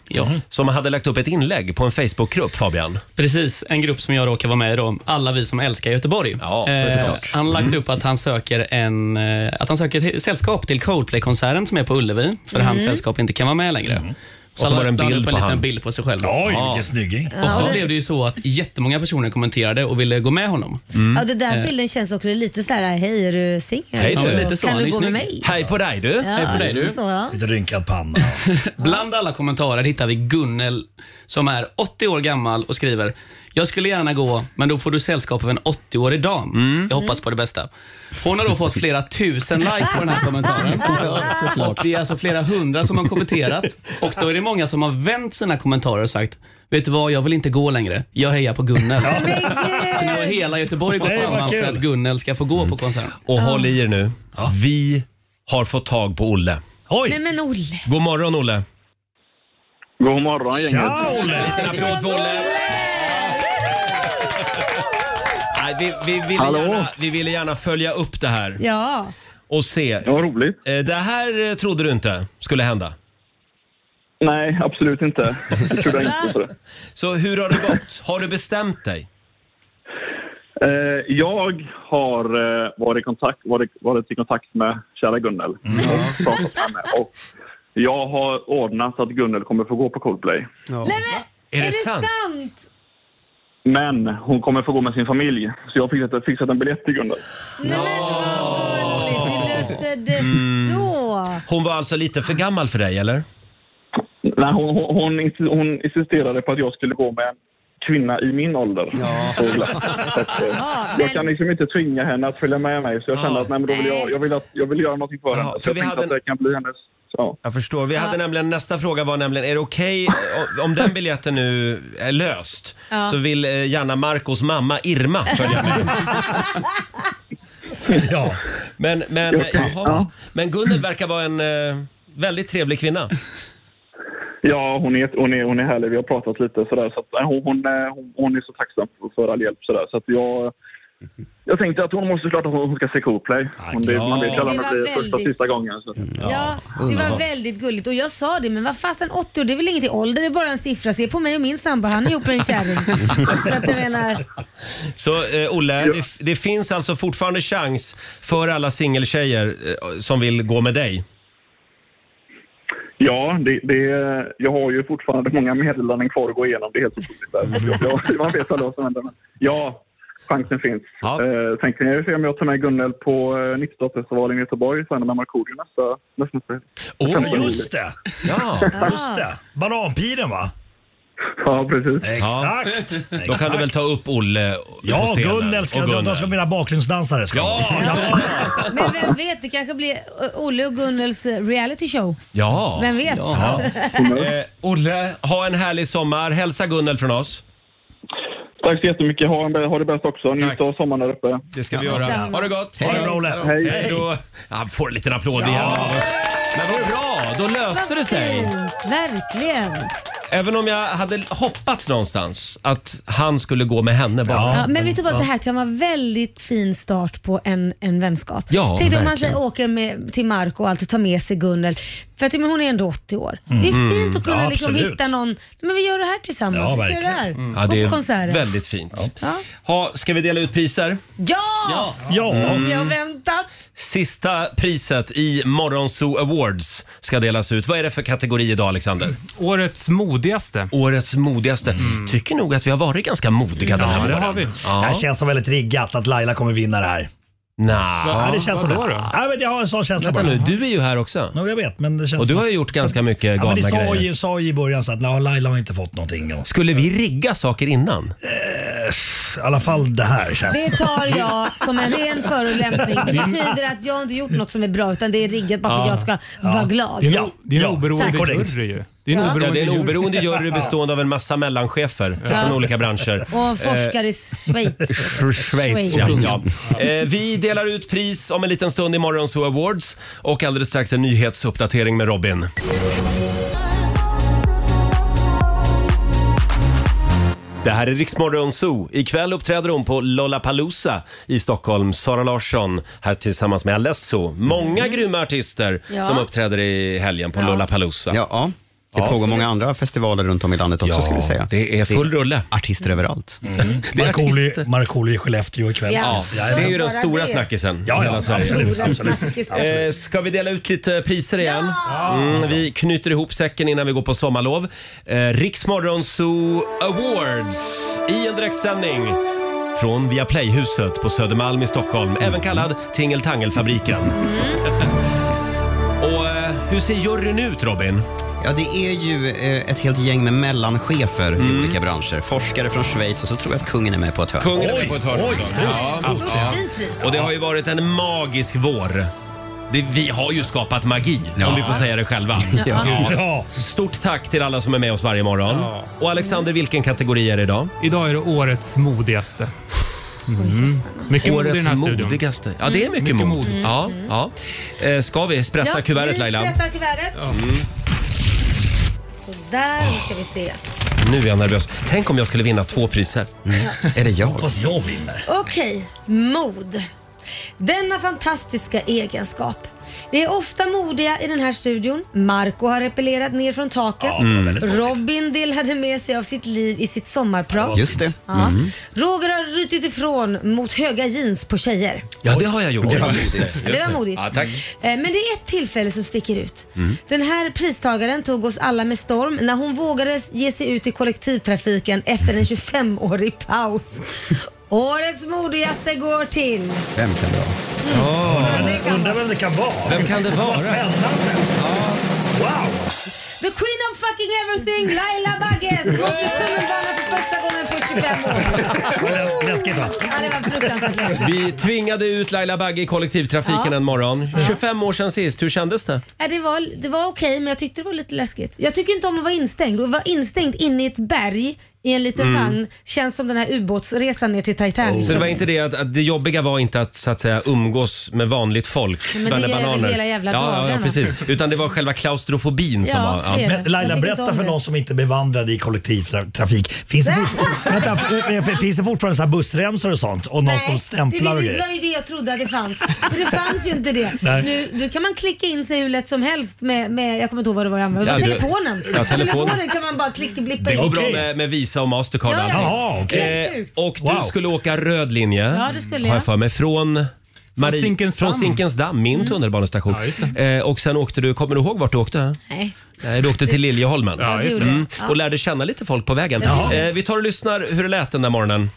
Som hade lagt upp ett inlägg på en Facebookgrupp, Fabian. Precis, en grupp som jag råkar vara med i då, alla vi som älskar Göteborg. eh, förstås. han har lagt upp att han söker, en, eh, att han söker ett sällskap till Coldplay-konserten som är på Ullevi, för Mm. hans sällskap inte kan vara med längre. Mm. Och så han var det en la upp bild en på liten han. bild på sig själv. Oj, vilken Ja. snygging. Och Ja, då och det- blev det ju så att jättemånga personer kommenterade och ville gå med honom. Ja, det där Eh, bilden känns också lite så här, hej är du singel? Hej, Så du. Lite så, Kan han är du gå med snygg. mig? Hej på dig du. Ja, Hej på dig, du. lite så, ja. Lite rynkad panna. Bland alla kommentarer hittar vi Gunnel som är 80 år gammal och skriver jag skulle gärna gå, men då får du sällskap av en 80-årig dam. Mm. Jag hoppas på det bästa. Hon har då fått flera tusen likes på den här kommentaren. Och det är alltså flera hundra som har kommenterat. Och då är det många som har vänt sina kommentarer och sagt Vet du vad, jag vill inte gå längre. Jag hejar på Gunnel. eh, Så nu har hela Göteborg gått Nej, vad samman för kul. att Gunnel ska få gå Mm. på konserten. Och håll i er nu. Vi har fått tag på Olle. Nej men Olle. God morgon Olle. God morgon gänget. Olle! En liten applåd för Olle. Nej, vi, vi, ville gärna, vi ville gärna följa upp det här Ja. och se. Ja, roligt. Det här eh, trodde du inte skulle hända. Nej, absolut inte. Det trodde jag inte på det. Så hur har det gått? Har du bestämt dig? Eh, jag har eh, varit, i kontakt, varit, varit i kontakt med kära Gunnel Mm. och pratat med henne. Och jag har ordnat så att Gunnel kommer få gå på Coldplay. Nej, men, är, det sant? Men hon kommer få gå med sin familj, så jag har fixat, fixat en biljett till Gunnel. Du löste det så. Hon var alltså lite för gammal för dig, eller? Nej, hon, hon, hon, insi- hon insisterade på att jag skulle gå med en kvinna i min ålder. Så glatt. Så att, eh, Jag kan liksom inte tvinga henne att följa med mig, så jag kände att nej, men då vill jag, jag, vill att, jag vill göra någonting för henne. Så för jag vi tänkte hade att det kan bli hennes... Ja. Jag förstår. Vi hade nämligen, nästa fråga var nämligen, är det okej eh, om den biljetten nu är löst? Ja. Så vill eh, gärna Marcos mamma Irma följa med. ja. Men, men, Okej, jaha. ja. men Gunnel verkar vara en eh, väldigt trevlig kvinna. Ja, hon är, hon, är, hon är härlig. Vi har pratat lite sådär. Så att, nej, hon, hon, eh, hon, hon är så tacksam för, för all hjälp. Sådär. Så att jag, jag tänkte att hon måste klart att hon hon ska se Coldplay. Ah, Hon, det, man vet ju alla Men om det det var blir första väldigt- sista gången. Så. Ja, det var underbart. väldigt gulligt och jag sa det, men vad fasen 80 år, det är väl inget i ålder, det är bara en siffra. Se på mig och min sambo, han är ihop med en kärring. Så att jag menar, Så eh, Olle, det, det finns alltså fortfarande chans för alla singeltjejer eh, som vill gå med dig. Ja, det, det, jag har ju fortfarande många meddelanden kvar att gå igenom. Det är helt otroligt. Där. Jag, man vet aldrig vad som händer. Men ja, chansen finns. Ja. Eh, sen kan jag ju se om jag tar med Gunnel på eh, 90-talsfestivalen i Göteborg sen med Markoolio nästa, nästa, nästa Oh, juli. just det. Ja. Just det. Bananpiren va? Ja, precis. Exakt. Ja. Då kan Exakt. du väl ta upp Olle på Ja, scenen. Gunnel ska Och jag de ska mina bakgrundsdansare. Ska ja, men vem vet, det kanske blir eh, Olle och Gunnels eh, reality show. Ja. Vem vet? Ja. Eh, Olle, ha en härlig sommar. Hälsa Gunnel från oss. Tack så jättemycket. Ha, en, ha det bäst också. Njut av sommaren där uppe. Det ska vi göra. Ha det gott. Ha det bra, Olle. Hej. Hej då. Ja, Han får en liten applåd igen av oss. Men vad bra, då löste det sig. Fint, Verkligen. Även om jag hade hoppats någonstans att han skulle gå med henne bara. Ja, men vet du vad, det här kan vara väldigt fin start på en, en vänskap. Ja, Tänk dig om man verkligen. säger, åker med, till Marco och alltid tar med sig Gunnel. För att men hon är ändå 80 år. Det Mm. är fint att kunna Ja, liksom absolut. hitta någon, men vi gör det här tillsammans. vi gör det här. Mm. Gå Ja, det på konserter. är väldigt fint. Ja. Ha, ska vi dela ut priser? Ja! Ja. Som jag Mm. väntat. Sista priset i Morgonzoo Awards ska delas ut. Vad är det för kategori idag, Alexander? Årets modigaste. Årets modigaste. Tycker nog att vi har varit ganska modiga den här Ja, det morgonen. har vi. Det här känns som väldigt riggat att Laila kommer vinna det här. Nja. Ja, det känns som det. Vadå då? Nej, men jag har en sån känsla Vänta bara. nu, du är ju här också. Ja, jag vet, men det känns Och du som har ju att- gjort ganska mycket Ja, men galna det sa grejer. ju, sa ju i början så att "Nej, Laila har inte fått någonting. Och, Skulle vi rigga saker innan? I alla fall det här känns Det tar jag som en ren förolämpning. Det Mm. betyder att jag har inte gjort något som är bra utan det är riggat bara för Ah. att jag ska vara glad. Det är en, det är en oberoende korrekt. jury ju. Det är en Ja. oberoende Ja, det är en jury. oberoende jury bestående av en massa mellanchefer Ja. från olika branscher. Och forskar Eh, i Schweiz. Sch- Schweiz, ja. Schweiz. ja. Eh, vi delar ut pris om en liten stund i morgons Who Awards och alldeles strax en nyhetsuppdatering med Robin. Det här är Riksmorgon Zoo. Ikväll uppträder hon på Lollapalooza i Stockholm. Sara Larsson här tillsammans med Alesso. Många grymma artister Mm. Ja. som uppträder i helgen på Ja. Lollapalooza. Ja, det Ja, pågår så- många andra festivaler runt om i landet också Ja, ska vi säga. det är full Mm. rulle. Artister överallt. Markoolio Markoolio i Skellefteå ikväll. Ja, det är ju den Bara stora det. snackisen. Ja, i ja hela Sverige. absolut. absolut. Eh, ska vi dela ut lite priser igen? Mm, vi knyter ihop säcken innan vi går på sommarlov. Eh, Riksmorgon Zoo Awards i en direktsändning från Via Playhuset på Södermalm i Stockholm, även kallad Tingeltangelfabriken. Och eh, hur ser juryn ut Robin? Ja, det är ju eh, ett helt gäng med mellanchefer Mm. i olika branscher. Forskare från Schweiz och så tror jag att kungen är med på ett hörn. Kungen är med på ett hörn också. Ja. Och det har ju varit en magisk vår. Det, vi har ju skapat magi, om vi får säga det själva. Ja. Ja. Stort tack till alla som är med oss varje morgon. Och Alexander, vilken kategori är det idag? Idag är det årets modigaste. Mm. Mycket mod i den här Årets studion. modigaste. Ja, det är mycket, Mycket mod. mod. Mm. Ja, ja. Eh, Ska vi sprätta Ja, kuvertet vi Laila? sprättar kuvertet. Mm. Sådär nu ska vi se. Nu är jag nervös. Tänk om jag skulle vinna två priser. Är det jag? Hoppas jag vinner. Okej, mod. Denna fantastiska egenskap. Vi är ofta modiga i den här studion. Marco har repellerat ner från taket. Ja, Mm. det var väldigt modigt. Robin delade med sig av sitt liv i sitt sommarprat. Just det. Ja. Mm. Roger har rutit ifrån mot höga jeans på tjejer. Ja, det har jag gjort. Det var Just modigt. just Det var modigt. Ja, tack. Eh, Men det är ett tillfälle som sticker ut. Den här pristagaren tog oss alla med storm när hon vågade ge sig ut i kollektivtrafiken efter en 25-årig paus. Årets modigaste går till... Vem kan det vara? Undrar vem det kan vara? Vem kan det vara? Mm. Spännande! Wow! The Queen of fucking everything, Laila Bagges! Hon åkte tunnelbana för första gången på 25 år. Läskigt va? Ja, det var fruktansvärt läskigt. Vi tvingade ut Laila Bagge i kollektivtrafiken Ja. en morgon. 25 år sedan sist, hur kändes det? Ja, det var, det var okej men jag tyckte det var lite läskigt. Jag tycker inte om att vara instängd och vara instängd inne i ett berg i en liten Mm. vagn känns som den här ubåtsresan ner till Titanic. Så det var inte det att, att det jobbiga var inte att så att säga umgås med vanligt folk, Men det gör jag väl bananer. hela jävla ja, ja, ja, dagarna. precis. Utan det var själva klaustrofobin som var... Ja. Men Laila, berätta för någon som inte är bevandrad i kollektivtrafik. Finns det, fortfar- Vänta, eh, finns det fortfarande så här bussremsor och sånt? Och någon som stämplar det, och det, det var grejer? ju det jag trodde att det fanns. Men det fanns ju inte det. Nej. Nu, nu kan man klicka in sig hur lätt som helst med, med jag kommer inte ihåg vad det var jag använde, Ja, du- telefonen. Ja, telefonen. kan man bara klicka blippa Det går in. bra Eh, med, med Visa och Mastercard Ja, och ja. allting. Jaha, okej. Helt sjukt. Och Wow. du skulle åka röd linje, Ja, det skulle har jag. jag för mig, från... Marie, Zinkensdamm. från Zinkensdamm, min Mm. tunnelbanestation. Ja, eh, och sen åkte du, kommer du ihåg vart du åkte? Nej. Nej, du åkte till Liljeholmen Ja, just det. Mm, Ja. och lärde känna lite folk på vägen. Jaha. Eh, vi tar och lyssnar hur det lät den där morgonen.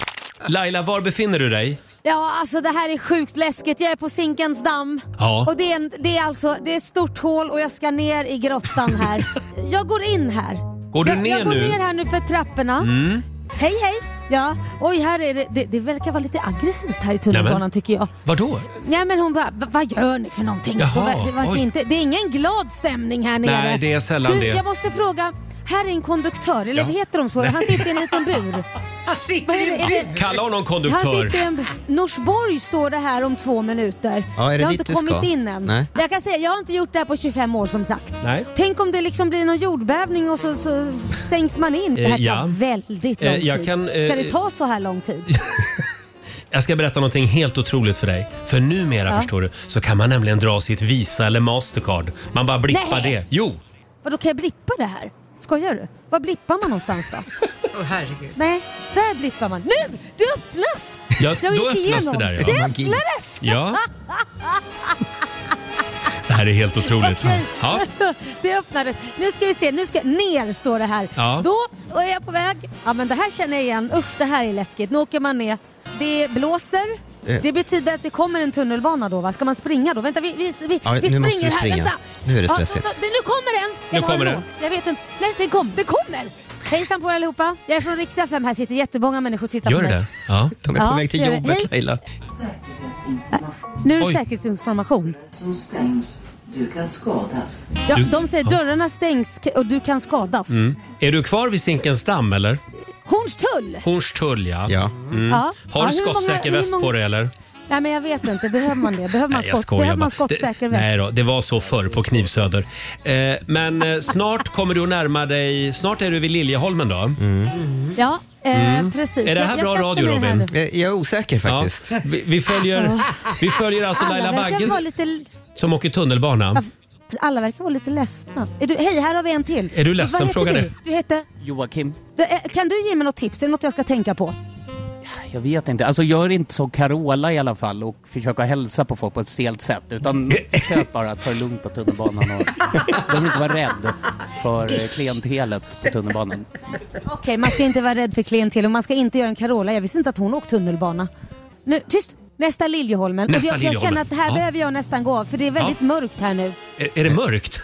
Laila, var befinner du dig? Ja, alltså det här är sjukt läskigt. Jag är på Zinkens damm. Ja. Och det är, en, det är alltså det är ett stort hål och jag ska ner i grottan här. jag går in här. Går du jag, ner jag går nu? ner här nu för trapporna. Mm. Hej hej! Ja, oj här är det, det, det verkar vara lite aggressivt här i tunnelbanan Nämen. tycker jag. Vadå? Nej men hon bara, "Va- vad gör ni för någonting? Jaha, Och va- det, verkar oj. inte, det är ingen glad stämning här nere. Nej, det är sällan du, det. Jag måste fråga, här är en konduktör, eller Ja. heter de så? Han sitter i en liten bur. Han sitter i en bur? Kalla honom Han konduktör. sitter i en... Norsborg står det här om två minuter. Ja, är det jag har dit inte du ska? kommit in än. Nej. Jag kan säga, jag har inte gjort det här på 25 år som sagt. Nej. Tänk om det liksom blir någon jordbävning och så, så stängs man in. Det här tar Eh, ja. väldigt Eh, lång jag tid. kan, eh, Ska det ta så här lång tid? Jag ska berätta någonting helt otroligt för dig. För numera Ja. förstår du så kan man nämligen dra sitt Visa eller Mastercard. Man bara blippar Nej. det. Jo! Vadå, kan jag blippa det här? Skojar du? Var blippar man någonstans då? Nej, där blippar man. Nu! Det öppnas! Ja, Jag då gick öppnas det igenom. där ja. Det öppnades! Ja. Det här är helt otroligt. Ja. det öppnades. Nu ska vi se, nu ska ner står det här. Ja. Då är jag på väg. Ja men det här känner jag igen. Usch det här är läskigt. Nu åker man ner. Det blåser. Eh, Det betyder att det kommer en tunnelbana då va? Ska man springa då? Vänta, vi, vi, vi, Ja, vi nu springer måste vi här. springa. Vänta. Nu är det Ja, stressigt. vänta, det- nu kommer den! Nu Den var kommer den. lågt. Jag vet inte. Nej, den kom. Den kommer! Hejsan på er allihopa. Jag är från Rix FM. Här sitter jättemånga människor och tittar på mig. Ja. De är på Ja, väg till gör det. jobbet Hej. Laila. Nu är det Oj. säkerhetsinformation. Du kan skadas. Ja, Du- de säger Ja. dörrarna stängs k- och du kan skadas. Mm. Är du kvar vid Zinkensdamm eller? Hornstull! Hornstull ja. Mm. Ja. Har du Ja, hur skottsäker många- väst hur många- på dig eller? Nej men jag vet inte, behöver man det? Behöver man, Nej, jag skott? skojar Behöver bara. man skottsäker det, väst? Nej då, det var så förr på Knivsöder. Eh, men eh, snart kommer du att närma dig, snart är du vid Liljeholmen då. Ja, eh, Mm. precis. Är det Jag- här jag bra sätter radio mig här Robin? nu. Jag är osäker faktiskt. Vi, vi, följer, vi följer alltså Alla Laila verkar Bagge vara lite- som åker tunnelbana. Alla verkar vara lite ledsna. Är du, hej, här har vi en till. Är du ledsen? Vad heter Fråga du? det. Du heter... Joakim, Du, eh, Kan du ge mig något tips? Är det något jag ska tänka på? jag vet inte. Alltså gör inte som Carola i alla fall och försöka hälsa på folk på ett stelt sätt. Utan försök bara att ta det lugnt på tunnelbanan. Och, du behöver inte vara rädd för eh, klientelet på tunnelbanan. Okej, man ska inte vara rädd för klientel och man ska inte göra en Carola. Jag visste inte att hon åkte tunnelbana. Nu, tyst! Nästa Liljeholmen. Nästa och jag, jag Liljeholmen. känner att det här Ja. behöver jag nästan gå av för det är väldigt mörkt här nu. Är, är det mörkt?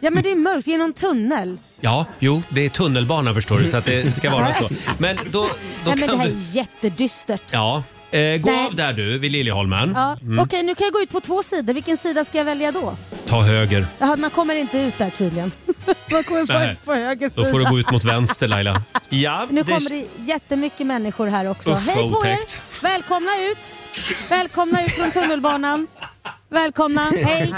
Ja men det är mörkt, det är någon tunnel. Ja, jo, det är tunnelbana förstår du så att det ska vara så. Men då, då Nej men det kan här du... är jättedystert. Ja, eh, gå Nej. av där du vid Liljeholmen. Ja. Mm. Okej, nu kan jag gå ut på två sidor. Vilken sida ska jag välja då? Ta höger. Jaha, man kommer inte ut där tydligen. man kommer bara Nej. ut på höger sida. Då får du gå ut mot vänster Laila. Ja, Nu kommer det jättemycket människor här också. Usch, Hej vad på er! otäckt. Välkomna ut! Välkomna ut från tunnelbanan. Välkomna, hej!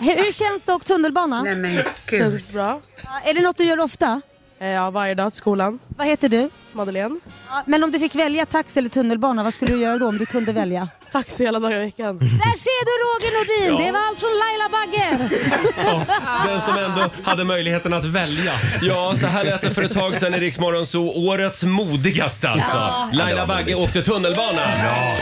Hur hur känns dock tunnelbanan? Nej men Känns bra. Är det något du gör ofta? Ja, varje dag till skolan. Vad heter du? Madeleine. Men om du fick välja taxi eller tunnelbana, vad skulle du göra då om du kunde välja? Taxi hela dagar i veckan. Där ser du Roger Nordin! Ja. Det var allt från Laila Bagge! Den som ändå hade möjligheten att välja. Ja, så här lät det för ett tag sedan i Rix Morgon Zoo. Årets modigaste alltså. Ja. Laila Bagge åkte tunnelbana. Ja.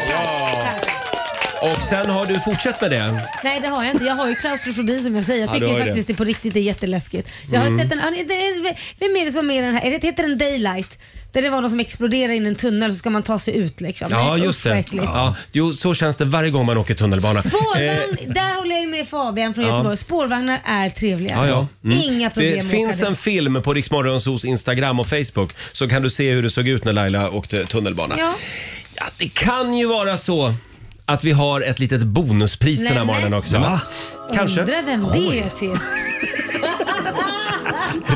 Och sen har du fortsatt med det. Nej det har jag inte. Jag har ju klaustrofobi som jag säger. Jag Ja, tycker du har ju ju faktiskt det. det. på riktigt är jätteläskigt. Jag har ju Mm. sett en, ja, det är- vem är det som är med i den här? Är det, heter den Daylight? Där det var någon som exploderar in i en tunnel så ska man ta sig ut liksom. Ja, Nej, just usch, vad det. äckligt. Ja. Jo, så känns det varje gång man åker tunnelbana. Spårvagn, Eh, där håller jag ju med Fabian från Ja. Göteborg. Spårvagnar är trevliga. Ja, ja. Mm. Inga problem Det att finns åka en dit. film på Rix Morgon Zoos Instagram och Facebook så kan du se hur det såg ut när Laila åkte tunnelbana. Ja. Det kan ju vara så att vi har ett litet bonuspris den här Nämen. morgonen också. Va? Kanske. Undrar vem det är till.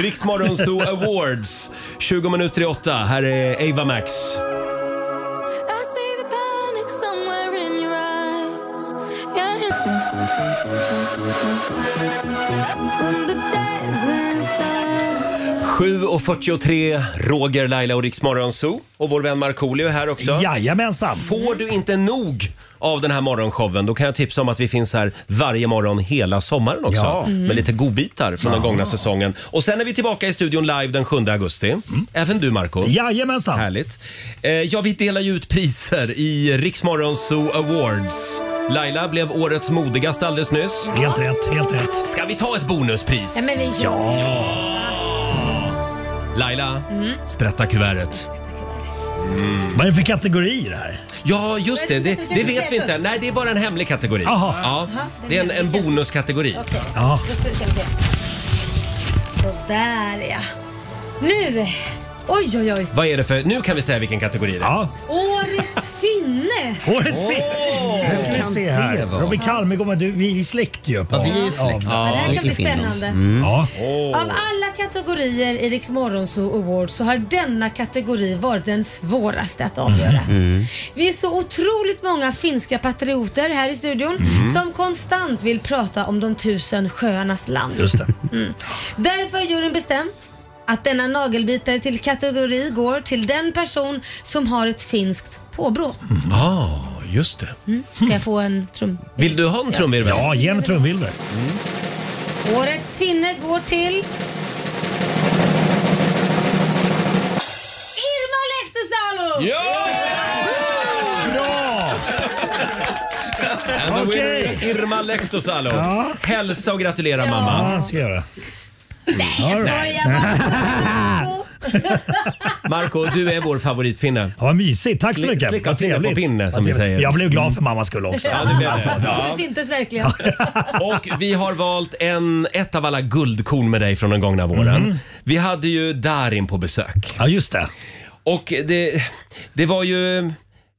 Rix Morgon Zoo Awards. 20 minuter i åtta. Här är Ava Max. When the dancing's done. 7.43, Roger, Laila och Rix Morgon Zoo. Och vår vän Markoolio är här också. Jajamensan. Får du inte nog av den här morgonshowen, då kan jag tipsa om att vi finns här varje morgon hela sommaren också. Ja. Mm. Med lite godbitar från den Ja. gångna säsongen. Och sen är vi tillbaka i studion live den 7 augusti. Mm. Även du Marco Jajamensan. Härligt. Eh, ja, vi delar ju ut priser i Riksmorgon Zoo Awards. Laila blev årets modigaste alldeles nyss. Helt rätt, helt rätt. Ska vi ta ett bonuspris? Ja, men vi gör ja. Laila, Mm. sprätta kuvertet. Vad är det för kategori det här? Ja, just det. Det, Du kan det inte vet säga vi inte. först. Nej, det är bara en hemlig kategori. Jaha. Ja, Jaha, det är en, en bonuskategori. Okej. Ja. Då ska vi se. Sådär ja. Nu. Oj, oj, oj. Vad är det för... Nu kan vi säga vilken kategori det är. Ja. Årets finne. Årets film! Nu ska vi Kan se det här. vara? Robin Kalmegård, men du, vi är ju släkt ju. På, Ja, vi är ju släkt. av- Ja, det här av- kan bli Finland. spännande. Mm. Ja. Av alla kategorier i Rix Morgonzoo Awards så har denna kategori varit den svåraste att avgöra. Mm, Vi är så otroligt många finska patrioter här i studion Mm. som konstant vill prata om de tusen sjöarnas land. Just det. Mm. Därför har juryn bestämt att denna nagelbitare till kategori går till den person som har ett finskt påbrå. Ah, just det. Mm. Ska jag få en trum? Vill du ha en trumvirvel? Ja, ge en trumvirvel. Årets finne går till... Irma Lehtosalo! Ja! Bra! And the winner is Irma Lehtosalo. Hälsa och gratulera mamma. Ja, det ska jag göra. Nej, jag All skojar right. bara. Marco, du är vår favoritfinne. Ja, vad mysigt. Tack så Sli- mycket. slicka Vad pinne på trevligt. pinne, som Vad vi trevligt. säger. Jag blev glad för Mm. mammas skull också. Ja, det blev det. Ja. Du syntes verkligen. Och vi har valt en, ett av alla guldkorn med dig från den gångna våren. Mhm. Vi hade ju Darin på besök. Ja, just det. Och det, det var ju eh,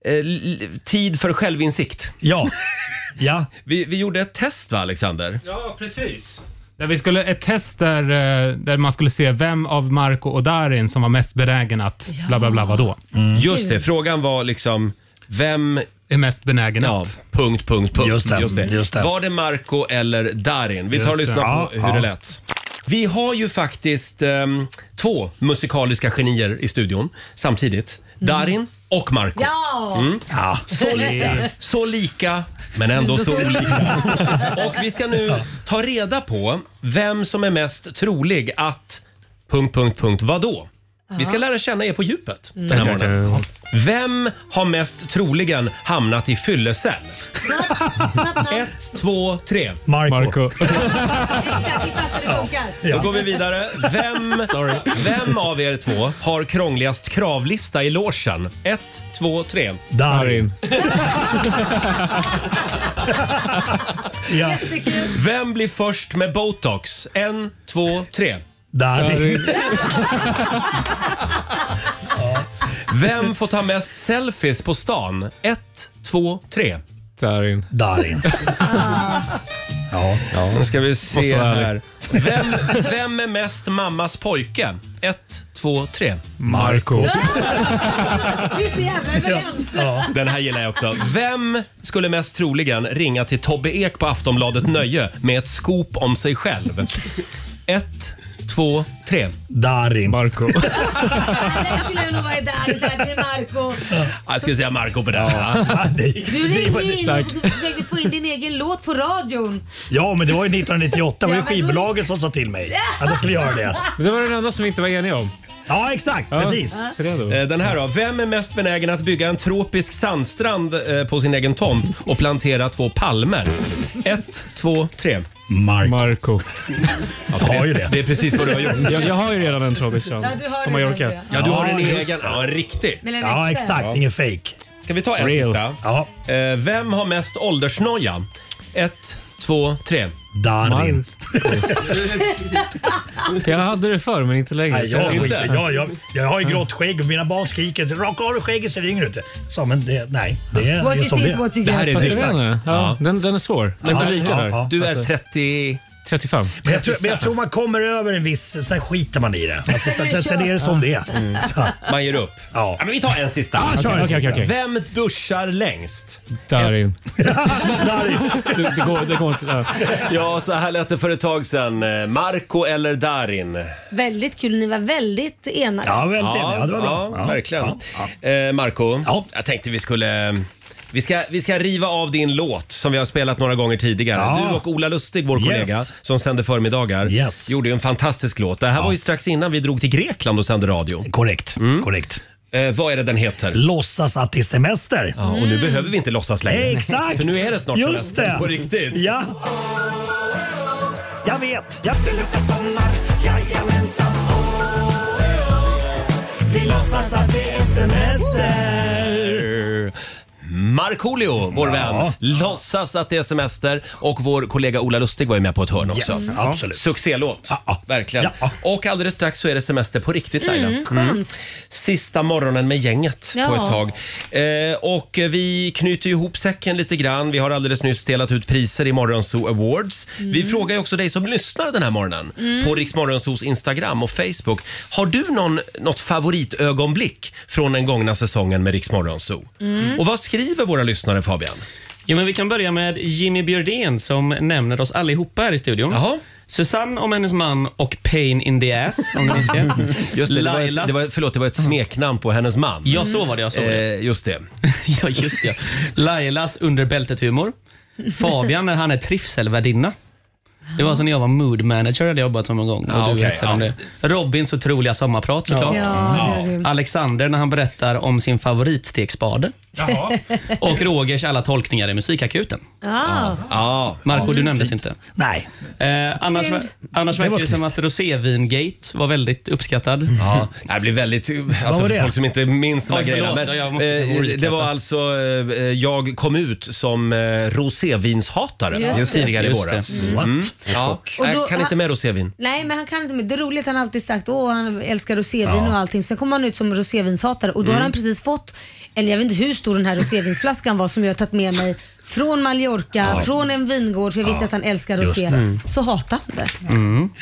l- tid för självinsikt. Ja. ja. Vi, vi gjorde ett test va, Alexander? Ja, precis. Där vi skulle, ett test där, eh, där man skulle se vem av Marco och Darin som var mest benägen att bla bla bla vadå? Just det, frågan var liksom vem är mest benägen ja, att? Punkt, punkt, punkt. Just det, just det. Var det Marco eller Darin? Vi Just tar och det. lyssnar på Ja, hur det ja. lät. Vi har ju faktiskt ehm, två musikaliska genier i studion samtidigt. Mm. Darin och Marco. Ja! Mm. Ja. Så, lika, så lika, men ändå så olika. Och vi ska nu ta reda på vem som är mest trolig att... Punkt, punkt, punkt. Vadå? Vi ska lära känna er på djupet den här Mm. morgonen. Vem har mest troligen hamnat i fyllecell? Snabbt namn. Ett, två, tre. Marco. Exakt, vi fattar hur det funkar. Då går vi vidare. Vem, vem av er två har krångligast kravlista i logen? Ett, två, tre. Darin. ja. Jättekul. Vem blir först med botox? En, två, tre. Darin. Vem får ta mest selfies på stan? Ett, två, tre. Darin. Darin. Ja. ja. Nu ska vi se Måste vara ärlig. här. Vem, vem är mest mammas pojke? Ett, två, tre. Marco. Vi är så jävla överens. Den här gillar jag också. Vem skulle mest troligen ringa till Tobbe Ek på Aftonbladet Nöje med ett skop om sig själv? Ett, två, tre. Darin. Marco. Där skulle jag nog vara i Darin. så här, Det är Marco. Jag skulle säga Marco på den. Ja. Du ringde ju in Tack. och försökte få in din egen låt på radion. ja, men det var ju 1998. Det var Ja, ju men då- skivbolaget som sa till mig att jag skulle göra det. Det var den enda som vi inte var eniga om. Ja, exakt. Precis. Så det då. Eh, Den här då. Vem är mest benägen att bygga en tropisk sandstrand eh, på sin egen tomt och plantera två palmer? Ett, två, tre. Marco. Marco. Jag har ju det. Det är precis vad du har gjort. Jag, jag har ju redan en tropisk Ja, du har på redan Mallorca. det. Ja, du har en Ja, just egen. det. Ja, en riktig. Men en Ja, äkta. exakt. Ingen fake. Ska vi ta en Real. sista? Ja. Eh, Vem har mest åldersnoja? Ett, två, tre. Darin. Jag hade det förr, men inte längre. Nej, så jag, jag- skiter. Jag, jag, jag har ju grått skägg och mina barn skriker “raka av dig skägget så det yngre ut”. Så, men det, nej, det, är- What det är you som see det is what you Det här get. är Fast jag exakt. vet inte. Ja. Ja, den, den är svår. Den Ja, går lika ja, där. ja. Du är Alltså, 30... 35. Men jag, tror, men jag tror man kommer över en viss, sen skiter man i det. Alltså, sen, sen, sen är det som det är. Mm. Så. Man ger upp. Ja. men vi tar en sista. Ja, kör en Okej, okej, okej. Vem duschar längst? Darin. Darin. Det, det, går, det går inte. Ja. Ja, så här lät det för ett tag sedan. Eh, Marco eller Darin? Väldigt kul. Ni var väldigt enade. Ja, väldigt enig. Ja, det var bra. ja, verkligen. Eh, Marco, jag tänkte vi skulle... Vi ska, vi ska riva av din låt som vi har spelat några gånger tidigare. Ja. Du och Ola Lustig, vår Yes. kollega som sände förmiddagar, Yes. gjorde ju en fantastisk låt. Det här var ju strax innan vi drog till Grekland och sände radio. Korrekt. Korrekt. Eh, vad är det den heter? Låtsas att det är semester. Ja, och nu behöver vi inte låtsas längre. Nej, exakt! För nu är det snart Just semester det. på riktigt. Ja. Jag vet. Jag vill lukta sommar. Jajamensan. Vi låtsas att det är semester. Markoolio, vår vän, låtsas att det är semester och vår kollega Ola Lustig var ju med på ett hörn också. Yes, absolut. Succélåt, verkligen. Och alldeles strax så är det semester på riktigt Laila. Mm, skönt. Sista morgonen med gänget på Ja. ett tag. Eh, och vi knyter ihop säcken lite grann. Vi har alldeles nyss delat ut priser i Morgonzoo Awards. Vi frågar ju också dig som lyssnar den här morgonen Mm. på Rix Morgonzoos Instagram och Facebook. Har du någon, något favoritögonblick från den gångna säsongen med Rix Morgonzoo? Mm. Och vad skriver våra lyssnare Fabian? Ja, men vi kan börja med Jimmy Björdén som nämner oss allihopa här i studion. Susanne om hennes man och Pain in the ass, om ni minns det. Just det, det var, Lailas- ett, det var, förlåt, det var ett smeknamn på hennes man. Ja, så var det, ja, så var det. Eh, just det. ja, just det. Lailas under bältet-humor. Fabian när han är trivselvärdinna. Det var som när jag var mood manager, hade jag jobbat som en gång. Och Ja, du okej, vet sen om ja. det. Robins otroliga sommarprat såklart. Ja, det är Alexander när han berättar om sin favoritstekspade. Jaha. Och Rogers alla tolkningar i Musikakuten. Ah. Ja, Marco, du nämndes inte. Nej. Eh, annars Synd. annars Det verkar var det som att rosévingate var väldigt uppskattad. Ja, det blir väldigt... Alltså, för folk som inte minns de här Oj, grejerna. förlåt, Men, ja, jag måste- eh, jag det var alltså, eh, eh, jag kom ut som eh, rosévinshatare Just det. tidigare i Just våras. det. Mm. Ja. Och då- jag kan inte med rosévin. Nej, men han kan inte. Men det är roligt, han har alltid sagt åh han älskar rosévin Ja. och allting. Sen kommer han ut som rosévinshatare och då har Mm. han precis fått, eller jag vet inte hur stor den här rosévinsflaskan var som jag har tagit med mig från Mallorca, Ja. från en vingård för jag visste Ja. att han älskar Just rosé. det. Mm. Så hatar han det.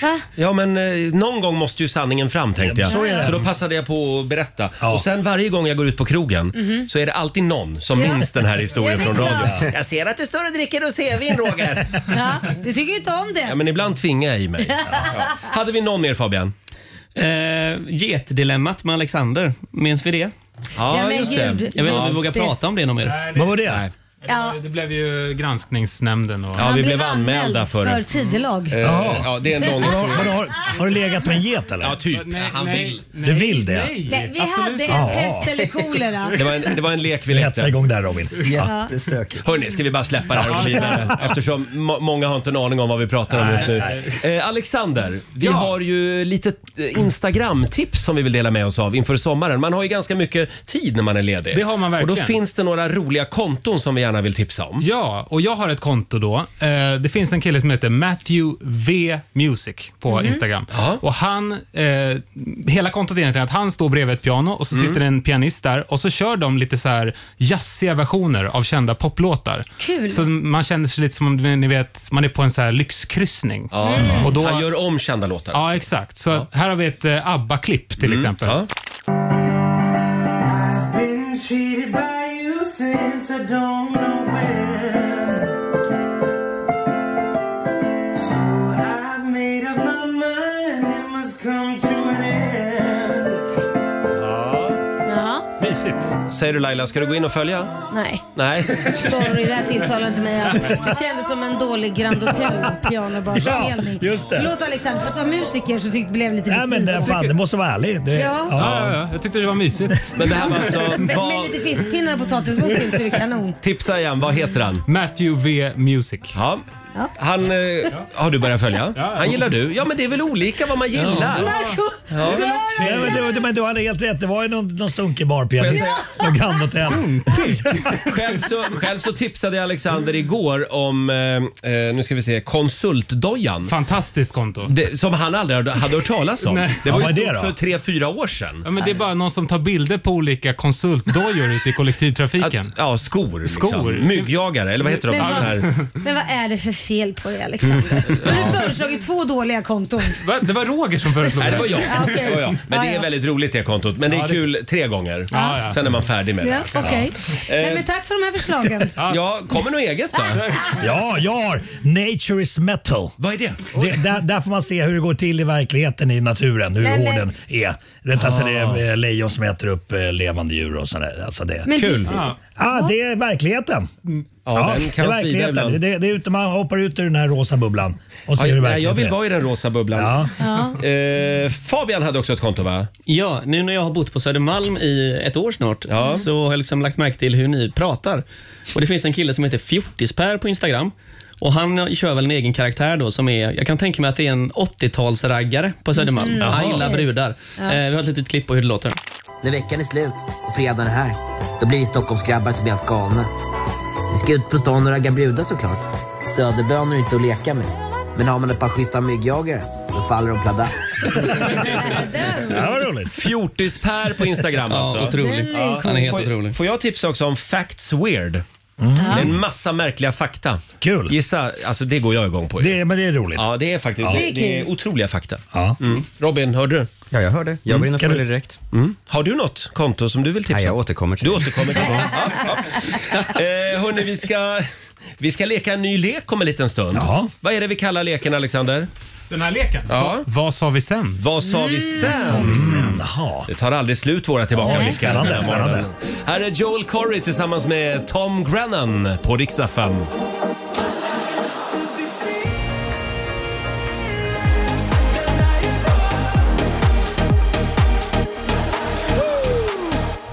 Va? Ja, men eh, någon gång måste ju sanningen fram tänkte jag. Så är det. då passade jag på att berätta. Och sen varje gång jag går ut på krogen Mhm. så är det alltid någon som Ja. minns den här historien Ja, det är från klart. radion. Jag ser att du står och dricker rosévin Roger. Ja, du tycker ju inte om det. Ja, men ibland tvingar jag i mig. Hade vi någon mer Fabian? Eh, getdilemmat med Alexander, minns vi det? Ja, men just gud, Jag vet inte om just vi vågar det. prata om det någon mer. Nej, det- Vad var det? Nej. Ja. Det blev ju granskningsnämnden och... Han För Mm. tidelag. Eh, Jaha. ja, det är en lång- Har, har, har, har du legat med en get eller? Ja, typ. Han nej, vill. Du vill det? nej. Nej, vi hade en Ja. pest eller kolera. Det var en, det var en lek vi Vi lekte. hetsar igång där Robin. Jättestökigt. Hörni, ska vi bara släppa det här och gå vidare? Eftersom må- många har inte en aning om vad vi pratar om Nej, just nu. Eh, Alexander, vi har ju lite eh, Instagram-tips som vi vill dela med oss av inför sommaren. Man har ju ganska mycket tid när man är ledig. Det har man verkligen. Och då finns det några roliga konton som vi gärna vill tipsa om. Ja, och jag har ett konto då. Eh, det finns en kille som heter Matthew V Music på Mhm. Instagram. Och han, eh, hela kontot är egentligen att han står bredvid ett piano och så Mm. sitter en pianist där och så kör de lite så här jazziga versioner av kända poplåtar. Kul. Så man känner sig lite som om ni vet, man är på en så här lyxkryssning. Mm. Och då, Han gör om kända låtar. ja, exakt. Så här har vi ett eh, ABBA-klipp till Mm. exempel. Been cheated by you since I don't know when. So I've made up my mind it must come to an end. Ja, Mysigt. Säger du Laila, ska du gå in och följa? nej. Nej. Sorry, det här tilltalar inte mig alls. Det kändes som en dålig Grand Hotel pianobarspelning. Ja, just det. Förlåt Alexander, för att vara musiker så tyckte blev lite Nej men eh, besviken. fan, det måste vara ärligt. Det, Ja. Ja, ja, ja. Jag tyckte det var mysigt. Men det här var alltså... Med, vad- med lite fiskpinnar och potatismos till så är det kanon. Tipsa igen, vad heter han? Matthew V Music. Ja. Han eh, har du börjat följa. Han gillar du. Ja, men det är väl olika vad man gillar. Marco, Ja. Nej, men, du, men du hade helt rätt, det var ju någon, någon sunkig barpianist. Får jag Någon Grand Hotel. Själv så, själv så tipsade jag Alexander igår om, eh, eh, nu ska vi se, konsultdojan. Fantastiskt konto. Det, som han aldrig hade- hade hört talas om. Nej. Det var Ja, vad ju är det stort då? för tre, fyra år sedan. Ja, men det är bara någon som tar bilder på olika konsultdojor ute i kollektivtrafiken. Ja, skor. skor. Liksom. Myggjagare, eller vad heter de? Men Den här. vad, men vad är det för fel på dig Alexander? Du har föreslagit två dåliga konton. Va? Det var Roger som föreslog Nej, det var jag. Ja, okej. Det var jag. Men Ja, det är ja. väldigt roligt det kontot. Men det är Ja, det- kul tre gånger. Ja, ja. Sen är man färdig med Ja, det. Okej. Nej, men tack för de här förslagen. Ja, kommer något eget då? Ja, jag har Nature is metal. Vad är det? där, där får man se hur det går till i verkligheten i naturen, hur Men- hård den är. Det, är alltså, det Ah. är eh, lejon som äter upp eh, levande djur och sådär. Alltså det. Men Kul. du- Ja, ah, det är verkligheten. Ja, den kan det är svida verkligheten. ibland. Det, det är ute, man hoppar ut ur den här rosa bubblan och ser Ja, hur nej, jag verkligheten vill är. vara i den rosa bubblan. Ja. Eh, Fabian hade också ett konto va? Ja, nu när jag har bott på Södermalm i ett år snart så har jag liksom lagt märke till hur ni pratar. Och Det finns en kille som heter Fjortispär på Instagram. Och Han kör väl en egen karaktär då som är, jag kan tänka mig att det är en 80-talsraggare på Södermalm. Mm. Han Jaha. gillar brudar. Ja. Eh, vi har ett litet klipp på hur det låter. När veckan är slut och fredagen är här, då blir vi Stockholmsgrabbar som är helt galna. Vi ska ut på stan och ragga brudar såklart. Söderbönor är inte att leka med. Men har man ett par schyssta myggjagare, då faller de pladask. Ja, vad roligt. Fjortis-Per på Instagram Ja, alltså. otrolig. Den är Ja, cool. han är helt får, otrolig. Får jag tipsa också om Facts Weird? Mm. Det är en massa märkliga fakta. Kul. Gissa, alltså det går jag igång på. ju. Det, men det är roligt. Ja, det är faktiskt Ja. det, Det är det är kul. otroliga fakta. Ja. Mm. Robin, hörde du? Ja, jag hörde. Jag går in och följer direkt. Mm. Har du något konto som du vill tipsa Nej, jag om? återkommer till Du återkommer till det. Ja, ja. Eh, hörni, vi ska, vi ska leka en ny lek om en liten stund. Vad är det vi kallar leken, Alexander? Den här leken? Ja. Vad sa vi sen? Mm. Vad sa vi sen? Det tar aldrig slut våra tillbakablickar. Nej. den här Spännande, morgonen. Här är Joel Corey tillsammans med Tom Grennan på riksdag 5.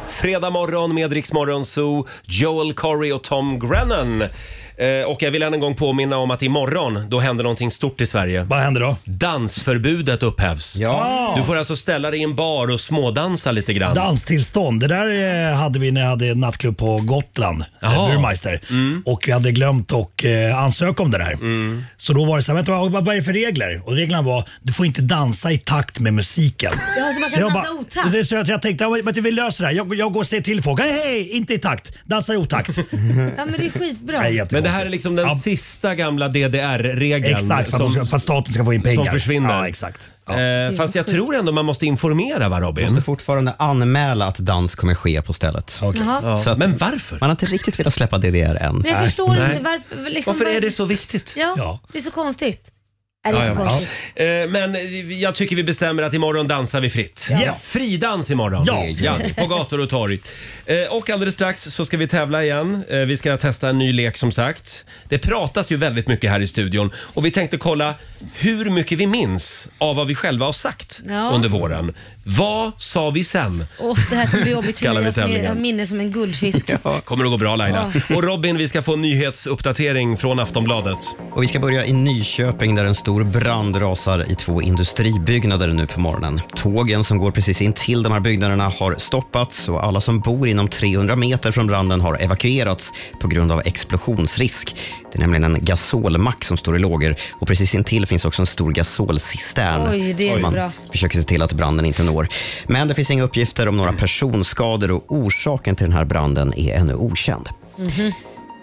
Fredag morgon med Rix Morgon Zoo, Joel Corey och Tom Grennan. Eh, och jag vill än en gång påminna om att imorgon, då händer någonting stort i Sverige. Vad händer då? Dansförbudet upphävs. Ja. Du får alltså ställa dig i en bar och smådansa lite grann. Danstillstånd. Det där eh, hade vi när jag hade nattklubb på Gotland, eh, Burmeister. Mm. Och vi hade glömt att eh, ansöka om det där. Så då var det så här, vänta, vad, vad är det för regler? Och reglerna var, du får inte dansa i takt med musiken. Ja, så man kan jag dansa otakt. Det är så att jag tänkte, ja, men vi löser det här. Jag, jag går och säger till folk, hej, hej, inte i takt, dansa i otakt. Ja, men det är skitbra. Men det här är liksom den sista gamla DDR-regeln. Exakt, för att de ska- för att staten ska få in pengar. Som försvinner. Ja, exakt. Eh, fast jag tror ändå man måste informera va Robin? måste fortfarande anmäla att dans kommer ske på stället. Jaha. Ja. Men varför? Man har inte riktigt velat släppa DDR än. Men jag förstår inte varför. Liksom, Varför är det så viktigt? Ja, Ja. det är så konstigt. Är det så konstigt? Ja. Eh, Men jag tycker vi bestämmer att imorgon dansar vi fritt. Yes. Fridans imorgon. Ja. på gator och torg. Eh, Och alldeles strax så ska vi tävla igen. Eh, Vi ska testa en ny lek som sagt. Det pratas ju väldigt mycket här i studion och vi tänkte kolla hur mycket vi minns av vad vi själva har sagt Ja. under våren. Vad sa vi sen? Åh, det här kommer bli jobbigt för Kallar mig. vi Jag som är- tävlingen. har minne som en guldfisk. Kommer det gå bra Laila? Ja. Och Robin, vi ska få en nyhetsuppdatering från Aftonbladet. Och vi ska börja i Nyköping där en stor brand rasar i två industribyggnader nu på morgonen. Tågen som går precis in till de här byggnaderna har stoppats och alla som bor inom 300 meter från branden har evakuerats på grund av explosionsrisk. Det är nämligen en gasolmack som står i lågor och precis intill finns också en stor gasolcistern. Oj, det är som man bra. försöker se till att branden inte når. Men det finns inga uppgifter om några personskador och orsaken till den här branden är ännu okänd. Mhm.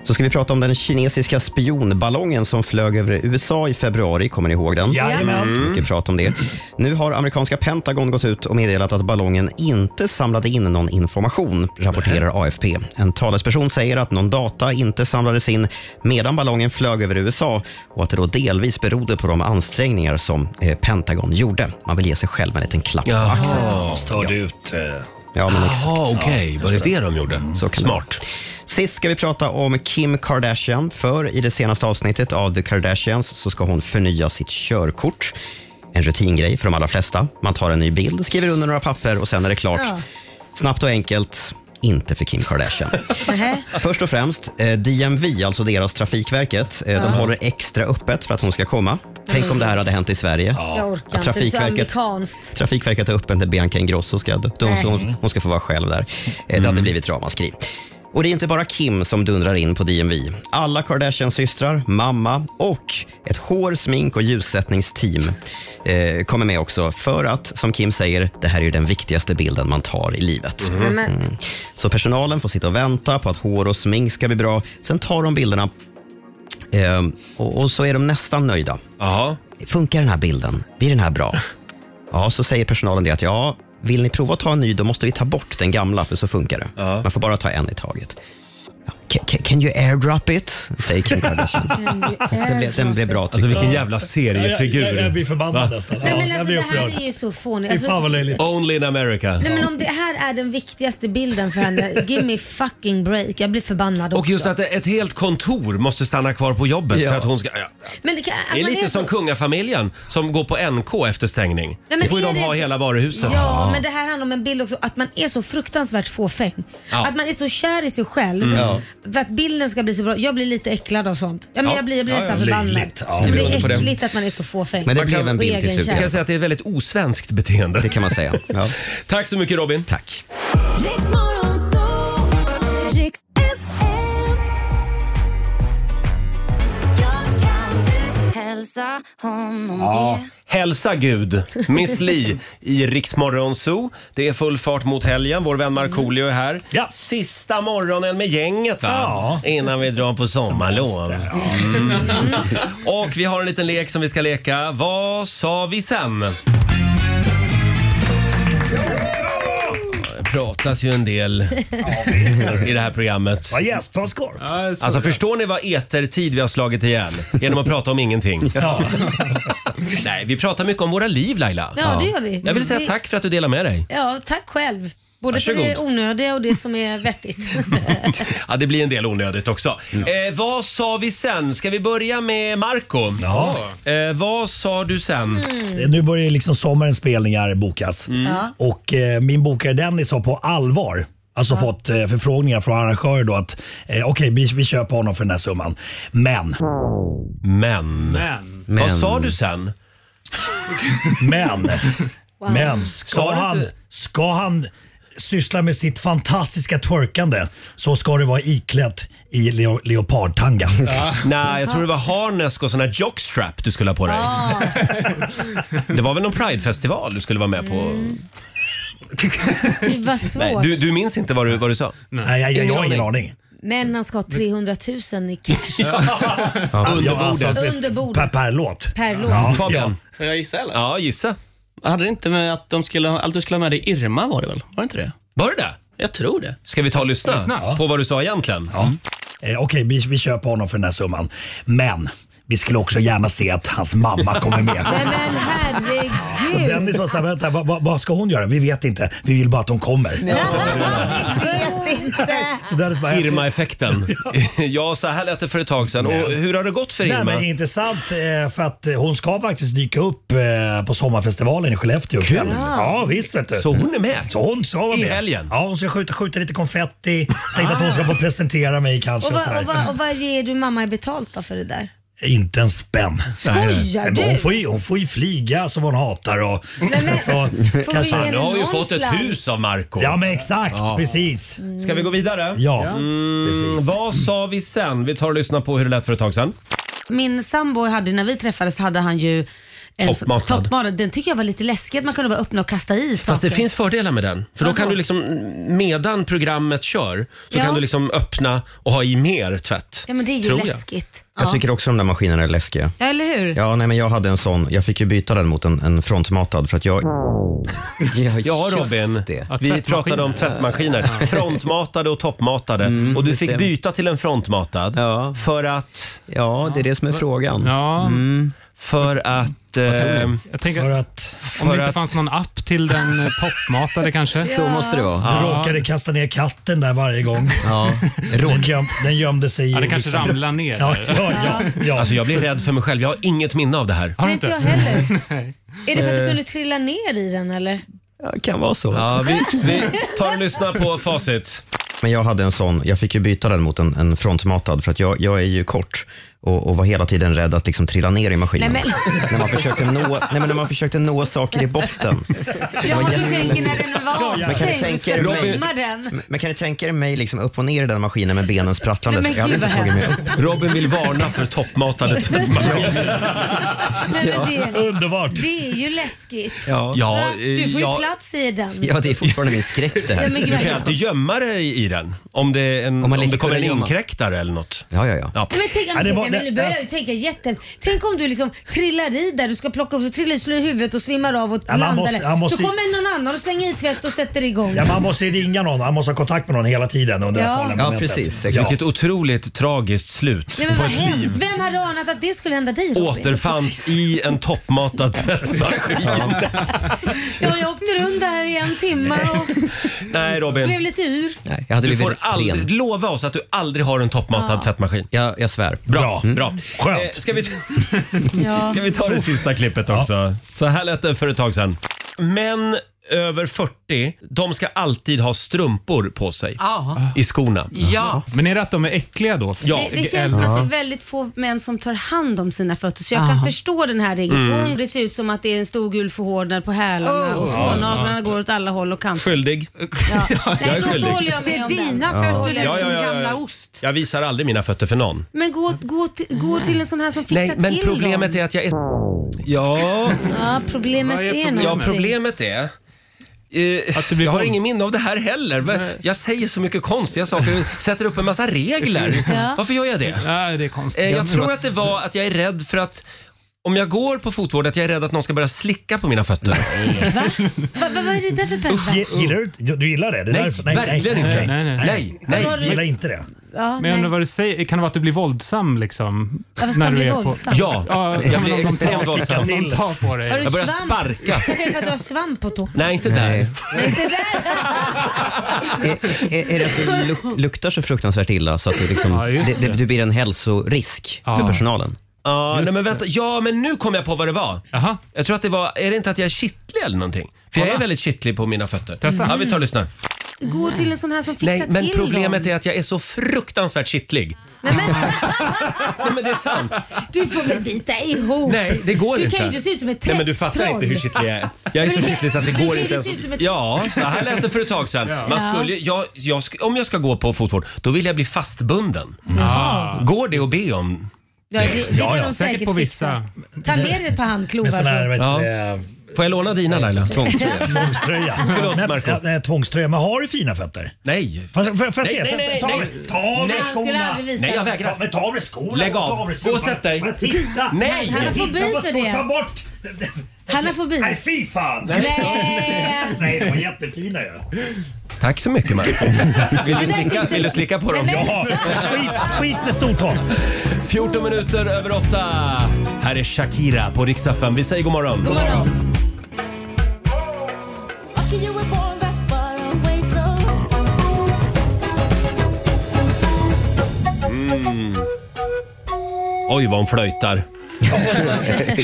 Så ska vi prata om den kinesiska spionballongen som flög över USA i februari. Kommer ni ihåg den? Jajamän. Mm. Mycket prat om det. Nu har amerikanska Pentagon gått ut och meddelat att ballongen inte samlade in någon information, rapporterar AFP. En talesperson säger att någon data inte samlades in medan ballongen flög över USA och att det då delvis berodde på de ansträngningar som eh, Pentagon gjorde. Man vill ge sig själv en liten klapp på axeln. Störde ut. eh, Ja, men exakt. Jaha, okej. Ja, Var det just det. Mm. det de gjorde? Så kan det Smart. vara. Sist ska vi prata om Kim Kardashian, för i det senaste avsnittet av The Kardashians så ska hon förnya sitt körkort. En rutingrej för de allra flesta. Man tar en ny bild, skriver under några papper och sen är det klart. Ja. Snabbt och enkelt. Inte för Kim Kardashian. Nähä. Först och främst, eh, DMV, alltså deras Trafikverket, eh, Ja. de håller extra öppet för att hon ska komma. Tänk om det här hade hänt i Sverige. Jag orkar Att inte. Det är så Trafikverket amerikanskt. Trafikverket har öppet när Bianca Ingrosso ska dö. Då Nej. så Hon, hon ska få vara själv där. Eh, Det hade blivit ramaskri. Och det är inte bara Kim som dundrar in på DMV. Alla Kardashians systrar, mamma och ett hår-, smink och ljussättningsteam eh, kommer med också för att, som Kim säger, det här är ju den viktigaste bilden man tar i livet. Mm. Mhm. Nämen. Så personalen får sitta och vänta på att hår och smink ska bli bra. Sen tar de bilderna eh, och, och så är de nästan nöjda. Funkar den här bilden? Blir den här bra? Ja, så säger personalen det att ja, vill ni prova att ta en ny, då måste vi ta bort den gamla, för så funkar det. Man får bara ta en i taget. Ja, "Ca- ca- Can you airdrop it? säger Kim Kardashian. den, blev, den blev bra. Alltså vilken jävla seriefigur. Jag- jag- jag blir förbannad nästan. Nej, men alltså, det här är ju så fånigt. Alltså, Only in America. Nej men om det här är den viktigaste bilden för henne, give me fucking break. Jag blir förbannad Och också. just att ett helt kontor måste stanna kvar på jobbet för att hon ska... Ja. men det, kan, att Det är man lite som kungafamiljen som går på NK efter stängning. men Då får ju är de det ha inte- hela varuhuset. Ja, men det här handlar om en bild också. Att man är så fruktansvärt fåfäng. Ja. Att man är så kär i sig själv. Mm. Ja. För att bilden ska bli så bra. Jag blir lite äcklad av sånt. Ja, men Ja. Jag blir, jag blir Ja, nästan ja. förbannad. Löjligt. Ja, det vi håller på blir det. äckligt att man är så fåfäng. Man kan- Och egenkär. Jag kan säga att det är ett väldigt osvenskt beteende. Det kan man säga. Tack så mycket Robin. Tack. Hälsa honom Ja. det Hälsa Gud, Miss Li i Riksmorgon Zoo. Det är full fart mot helgen. Vår vän Markoolio är här. Sista morgonen med gänget va? Ja. Innan vi drar på sommarlov. Mm. Och vi har en liten lek som vi ska leka. Vad sa vi sen? Det pratas ju en del i det här programmet. Vad gäspar Skorp. Alltså förstår ni vad etertid vi har slagit ihjäl genom att prata om ingenting? Nej, vi pratar mycket om våra liv Laila. Ja, det gör vi. Mm. Jag vill säga Vi- tack för att du delar med dig. Ja, tack själv. Både för Varsågod. det onödiga och det som är vettigt. Ja, det blir en del onödigt också. Mm. Eh, vad sa vi sen? Ska vi börja med Marco? Ja. Eh, vad sa du sen? Mm. Mm. Nu börjar liksom sommarens spelningar bokas. Mm. Ja. Och eh, min bokare Dennis sa på allvar Alltså fått eh, förfrågningar från arrangörer då att eh, okej, vi, vi köper honom för den här summan. Men. Men. Men. Vad sa du sen? Men. Wow. Men Sa ska du han, inte- ska han syssla med sitt fantastiska twerkande så ska det vara iklätt i leo, leopardtanga. Nej, jag tror det var harnesk och sån här jockstrap du skulle ha på dig. Ah. Det var väl någon pridefestival du skulle vara med på? Mm, Gud, Vad Nej, svårt. du, du minns inte vad du, vad du sa? Nej, jag- jag- jag har ingen aning. Men han ska ha 300 000 i cash Under alltså, bordet. under bordet per låt. per låt. Fabian. Får jag gissa eller? Ja, gissa. Hade det inte med att de skulle, ha- allt du skulle ha med dig Irma var det väl? Var det inte det? Var det det? Jag tror det. Ska vi ta och lyssna, Lyssna. på vad du sa egentligen? Ja. Eh, Okej, vi, vi köper honom för den här summan. Men vi skulle också gärna se att hans mamma kommer med. Nej men Så herregud. Dennis var såhär, vänta, vad, vad, vad ska hon göra? Vi vet inte. Vi vill bara att hon kommer. Vet inte. Så där är det bara- Irma-effekten. ja, så här lät det för ett tag sedan. Och hur har det gått för Nej, Irma? men intressant eh, för att eh, hon ska faktiskt dyka upp eh, på sommarfestivalen i Skellefteå Kul. Ja, visst vet du. Så hon är med? Så hon ska vara I med. helgen? Ja, hon ska skjuta, skjuta lite konfetti. Tänkte att hon Ah. ska få presentera mig kanske. Och Och vad, sådär. och, vad, och vad ger du mamma i betalt då för det där? Inte en spänn. Skojar Men du? Hon får, ju, hon får ju flyga som hon hatar och Nej, men- sen så Får vi kanske... ge henne Du har ju någon fått ett slant? hus av Marco Ja men exakt, precis. Ska vi gå vidare? Ja, Mm, vad sa vi sen? Vi tar och lyssnar på hur det lät för ett tag sedan. Min sambo hade, när vi träffades, hade han ju en så- Toppmatad. toppmatad. Den tycker jag var lite läskig, att man kunde bara öppna och kasta i saker. Fast det finns fördelar med den. För då Vadå? kan du liksom, medan programmet kör, så Ja. kan du liksom öppna och ha i mer tvätt. Ja men det är ju Tror jag. läskigt. Jag Ja. tycker också de där maskinerna är läskiga. Ja, eller hur? Ja, nej, men jag hade en sån. Jag fick ju byta den mot en, en frontmatad för att jag... Ja Ja, just Robin, det. vi pratade om tvättmaskiner. Frontmatade och toppmatade. och du just fick det. byta till en frontmatad. För att... Ja, det är det som är frågan. Ja. För att... tror eh, ni? Jag tänker, för att... om det för inte att- fanns någon app till den eh, toppmatade kanske. Så måste det vara. Du råkade kasta ner katten där varje gång. Ja. Den, göm, den gömde sig i... Ja, det kanske liksom- ramlar ner. Ja, ja, ja, ja. Alltså jag blir rädd för mig själv. Jag har inget minne av det här. Nej, inte jag heller. Är det för att du kunde trilla ner i den eller? kan vara så. Ja, vi, vi tar och lyssnar på facit. Men jag hade en sån, jag fick ju byta den mot en, en frontmatad för att jag, jag är ju kort och, och var hela tiden rädd att liksom trilla ner i maskinen. Nej, men- När, man försökte nå, nej, men när man försökte nå saker i botten. Ja, du tänker när den var Men kan ni avstängd och tänka ska er mig- tömma den. Men kan ni tänka er mig liksom upp och ner i den maskinen med benen sprattlandes? Nej, men jag hade gud, inte vad tagit mig upp. Robin vill varna för toppmatade tvättmaskiner. Nej, men det, Underbart. det är ju läskigt. Ja. Ja, Va? du får ju ja. plats i den. Ja, det är fortfarande min skräck det Ja, här. men Du kan ju grejen- alltid gömma dig i den. Om det, är en, om man det leker kommer en gömma. inkräktare eller något. Ja, ja, ja. Ja. Nej, men tänk, Ja, det var- nej, men nu det- börjar jag ju tänka jätte... Tänk om du liksom trillar i där du ska plocka upp, så trillar du, slår i huvudet och svimmar av och Ja, man landar måste- där. man måste- Så kommer någon annan och slänger i tvätt och sätter igång. Ja, man måste ju ringa någon, man måste ha kontakt med någon hela tiden under Ja. det farliga Ja, momentet. precis, Ja. Vilket otroligt tragiskt slut Nej, men på vad ett liv. hemskt. Vem hade anat att det skulle hända dig Robin? Återfanns i en toppmatad tvättmaskin. Ja, jag åkte runt där i en timme och Nej blev Robin, lite yr. Nej, jag hade du får blivit ren. aldrig, lova oss att du aldrig har en toppmatad Ja. tvättmaskin. Jag, jag svär. Bra, Mm. bra. Skönt. Eh, Ska vi, ta- Ja. ska vi ta det sista klippet också? Så här lät det för ett tag sedan. Män över 40, de ska alltid ha strumpor på sig Ja. i skorna. Ja. Men är det att de är äckliga då? Ja. Det, det känns som att det är väldigt få män som tar hand om sina fötter så jag kan förstå den här regeln. Mm. Om det ser ut som att det är en stor gul förhårdnad på hälarna Oh. och tånaglarna går åt alla håll och kanter. Skyldig. Jag är Nej, då, skyldig. då håller jag liksom med om det. Dina fötter Ja, ja, ja, ja. Jag visar aldrig mina fötter för någon. Men gå, gå, till, gå till en sån här som fixar Mm. Nej, men till problemet dem. är att jag är... Ja, Ja, problemet Vad är är, problemet? ja någonting. problemet är... Mm. eh, Att det blir jag har våld. ingen minne av det här heller. Va- Jag säger så mycket konstiga saker och sätter upp en massa regler. Ja. Varför gör jag det? Nej, det är konstigt. Eh, Jag tror att det var att jag är rädd för att om jag går på fotvård att jag är rädd att någon ska börja slicka på mina fötter. Va, va, vad är det där för pervers? Gi- Gillar du, du- du gillar det? det är Nej, därför- verkligen inte. okej. Nej, nej, nej. Nej, nej. Vad har Du du- gillar inte det? Ja, Men jag undrar nej. vad du säger. Kan det vara att du blir våldsam liksom? Varför ska man bli våldsam? Ja, Ja, jag men om blir de extremt tar- våldsam. om de tar på dig. Har du Jag börjar svamp? sparka. Kanske för att du har svamp på tårna. Nej, inte där. Nej, det där. Är, är, är det att du luk, luktar så fruktansvärt illa så att du, liksom, Ja, just det, det. det, du blir en hälsorisk Ja. för personalen? Ja, nej, Just men det. vänta. Ja, men nu kom jag på vad det var. Jaha. Jag tror att det var, är det inte att jag är kittlig eller någonting? För jag Kolla. är väldigt kittlig på mina fötter. Testa. Ja, vi tar och lyssnar. gå till en sån här som fixar Nej, men till problemet dem. är att jag är så fruktansvärt kittlig. Nej, men det är sant. Du får väl bita ihop. Nej, det går du inte. Du kan ju se ut som ett Nej, men du träsktroll. fattar inte hur kittlig jag är. Jag är Men så du kan- kittlig så att det du går kan inte ju ens... se ut som ett- Ja, så här lät det för ett tag sedan. Man Ja. skulle, jag, jag, sk- om jag ska gå på fotvård, då vill jag bli fastbunden. Jaha. Går det att be om? Ja, det, det kan de säkert fixa. Ta med dig ett par handklovar. så. Ja. Får jag låna dina Laila? Tvångströja. eh, Tvångströja. Förlåt Men- Marco. ja, nej, Tvångströja, men har du fina fötter? Nej. Får jag- får jag- får jag Nej, se? nej, nej, Ta- ta- nej. Ta av Nej. dig Han skulle skorna. aldrig visa. Nej, jag vägrar. Ta- Men ta av dig skorna. Lägg Ta av. dig Gå och strumpan. sätt dig. Men Titta! Nej. Men Han har titta fobi vad för skor- det. Ta bort! Han har fobi. Nej, fy fan! Nej. Nej, de var jättefina ju. Tack så mycket Marco. Vill Det du där slicka, sitter- vill du slicka på dem? Nej, men- Skit med stortån. 14 minuter över 8. Här är Shakira på riksdag 5. Vi säger god morgon. God morgon. Mm. Oj, vad hon flöjtar.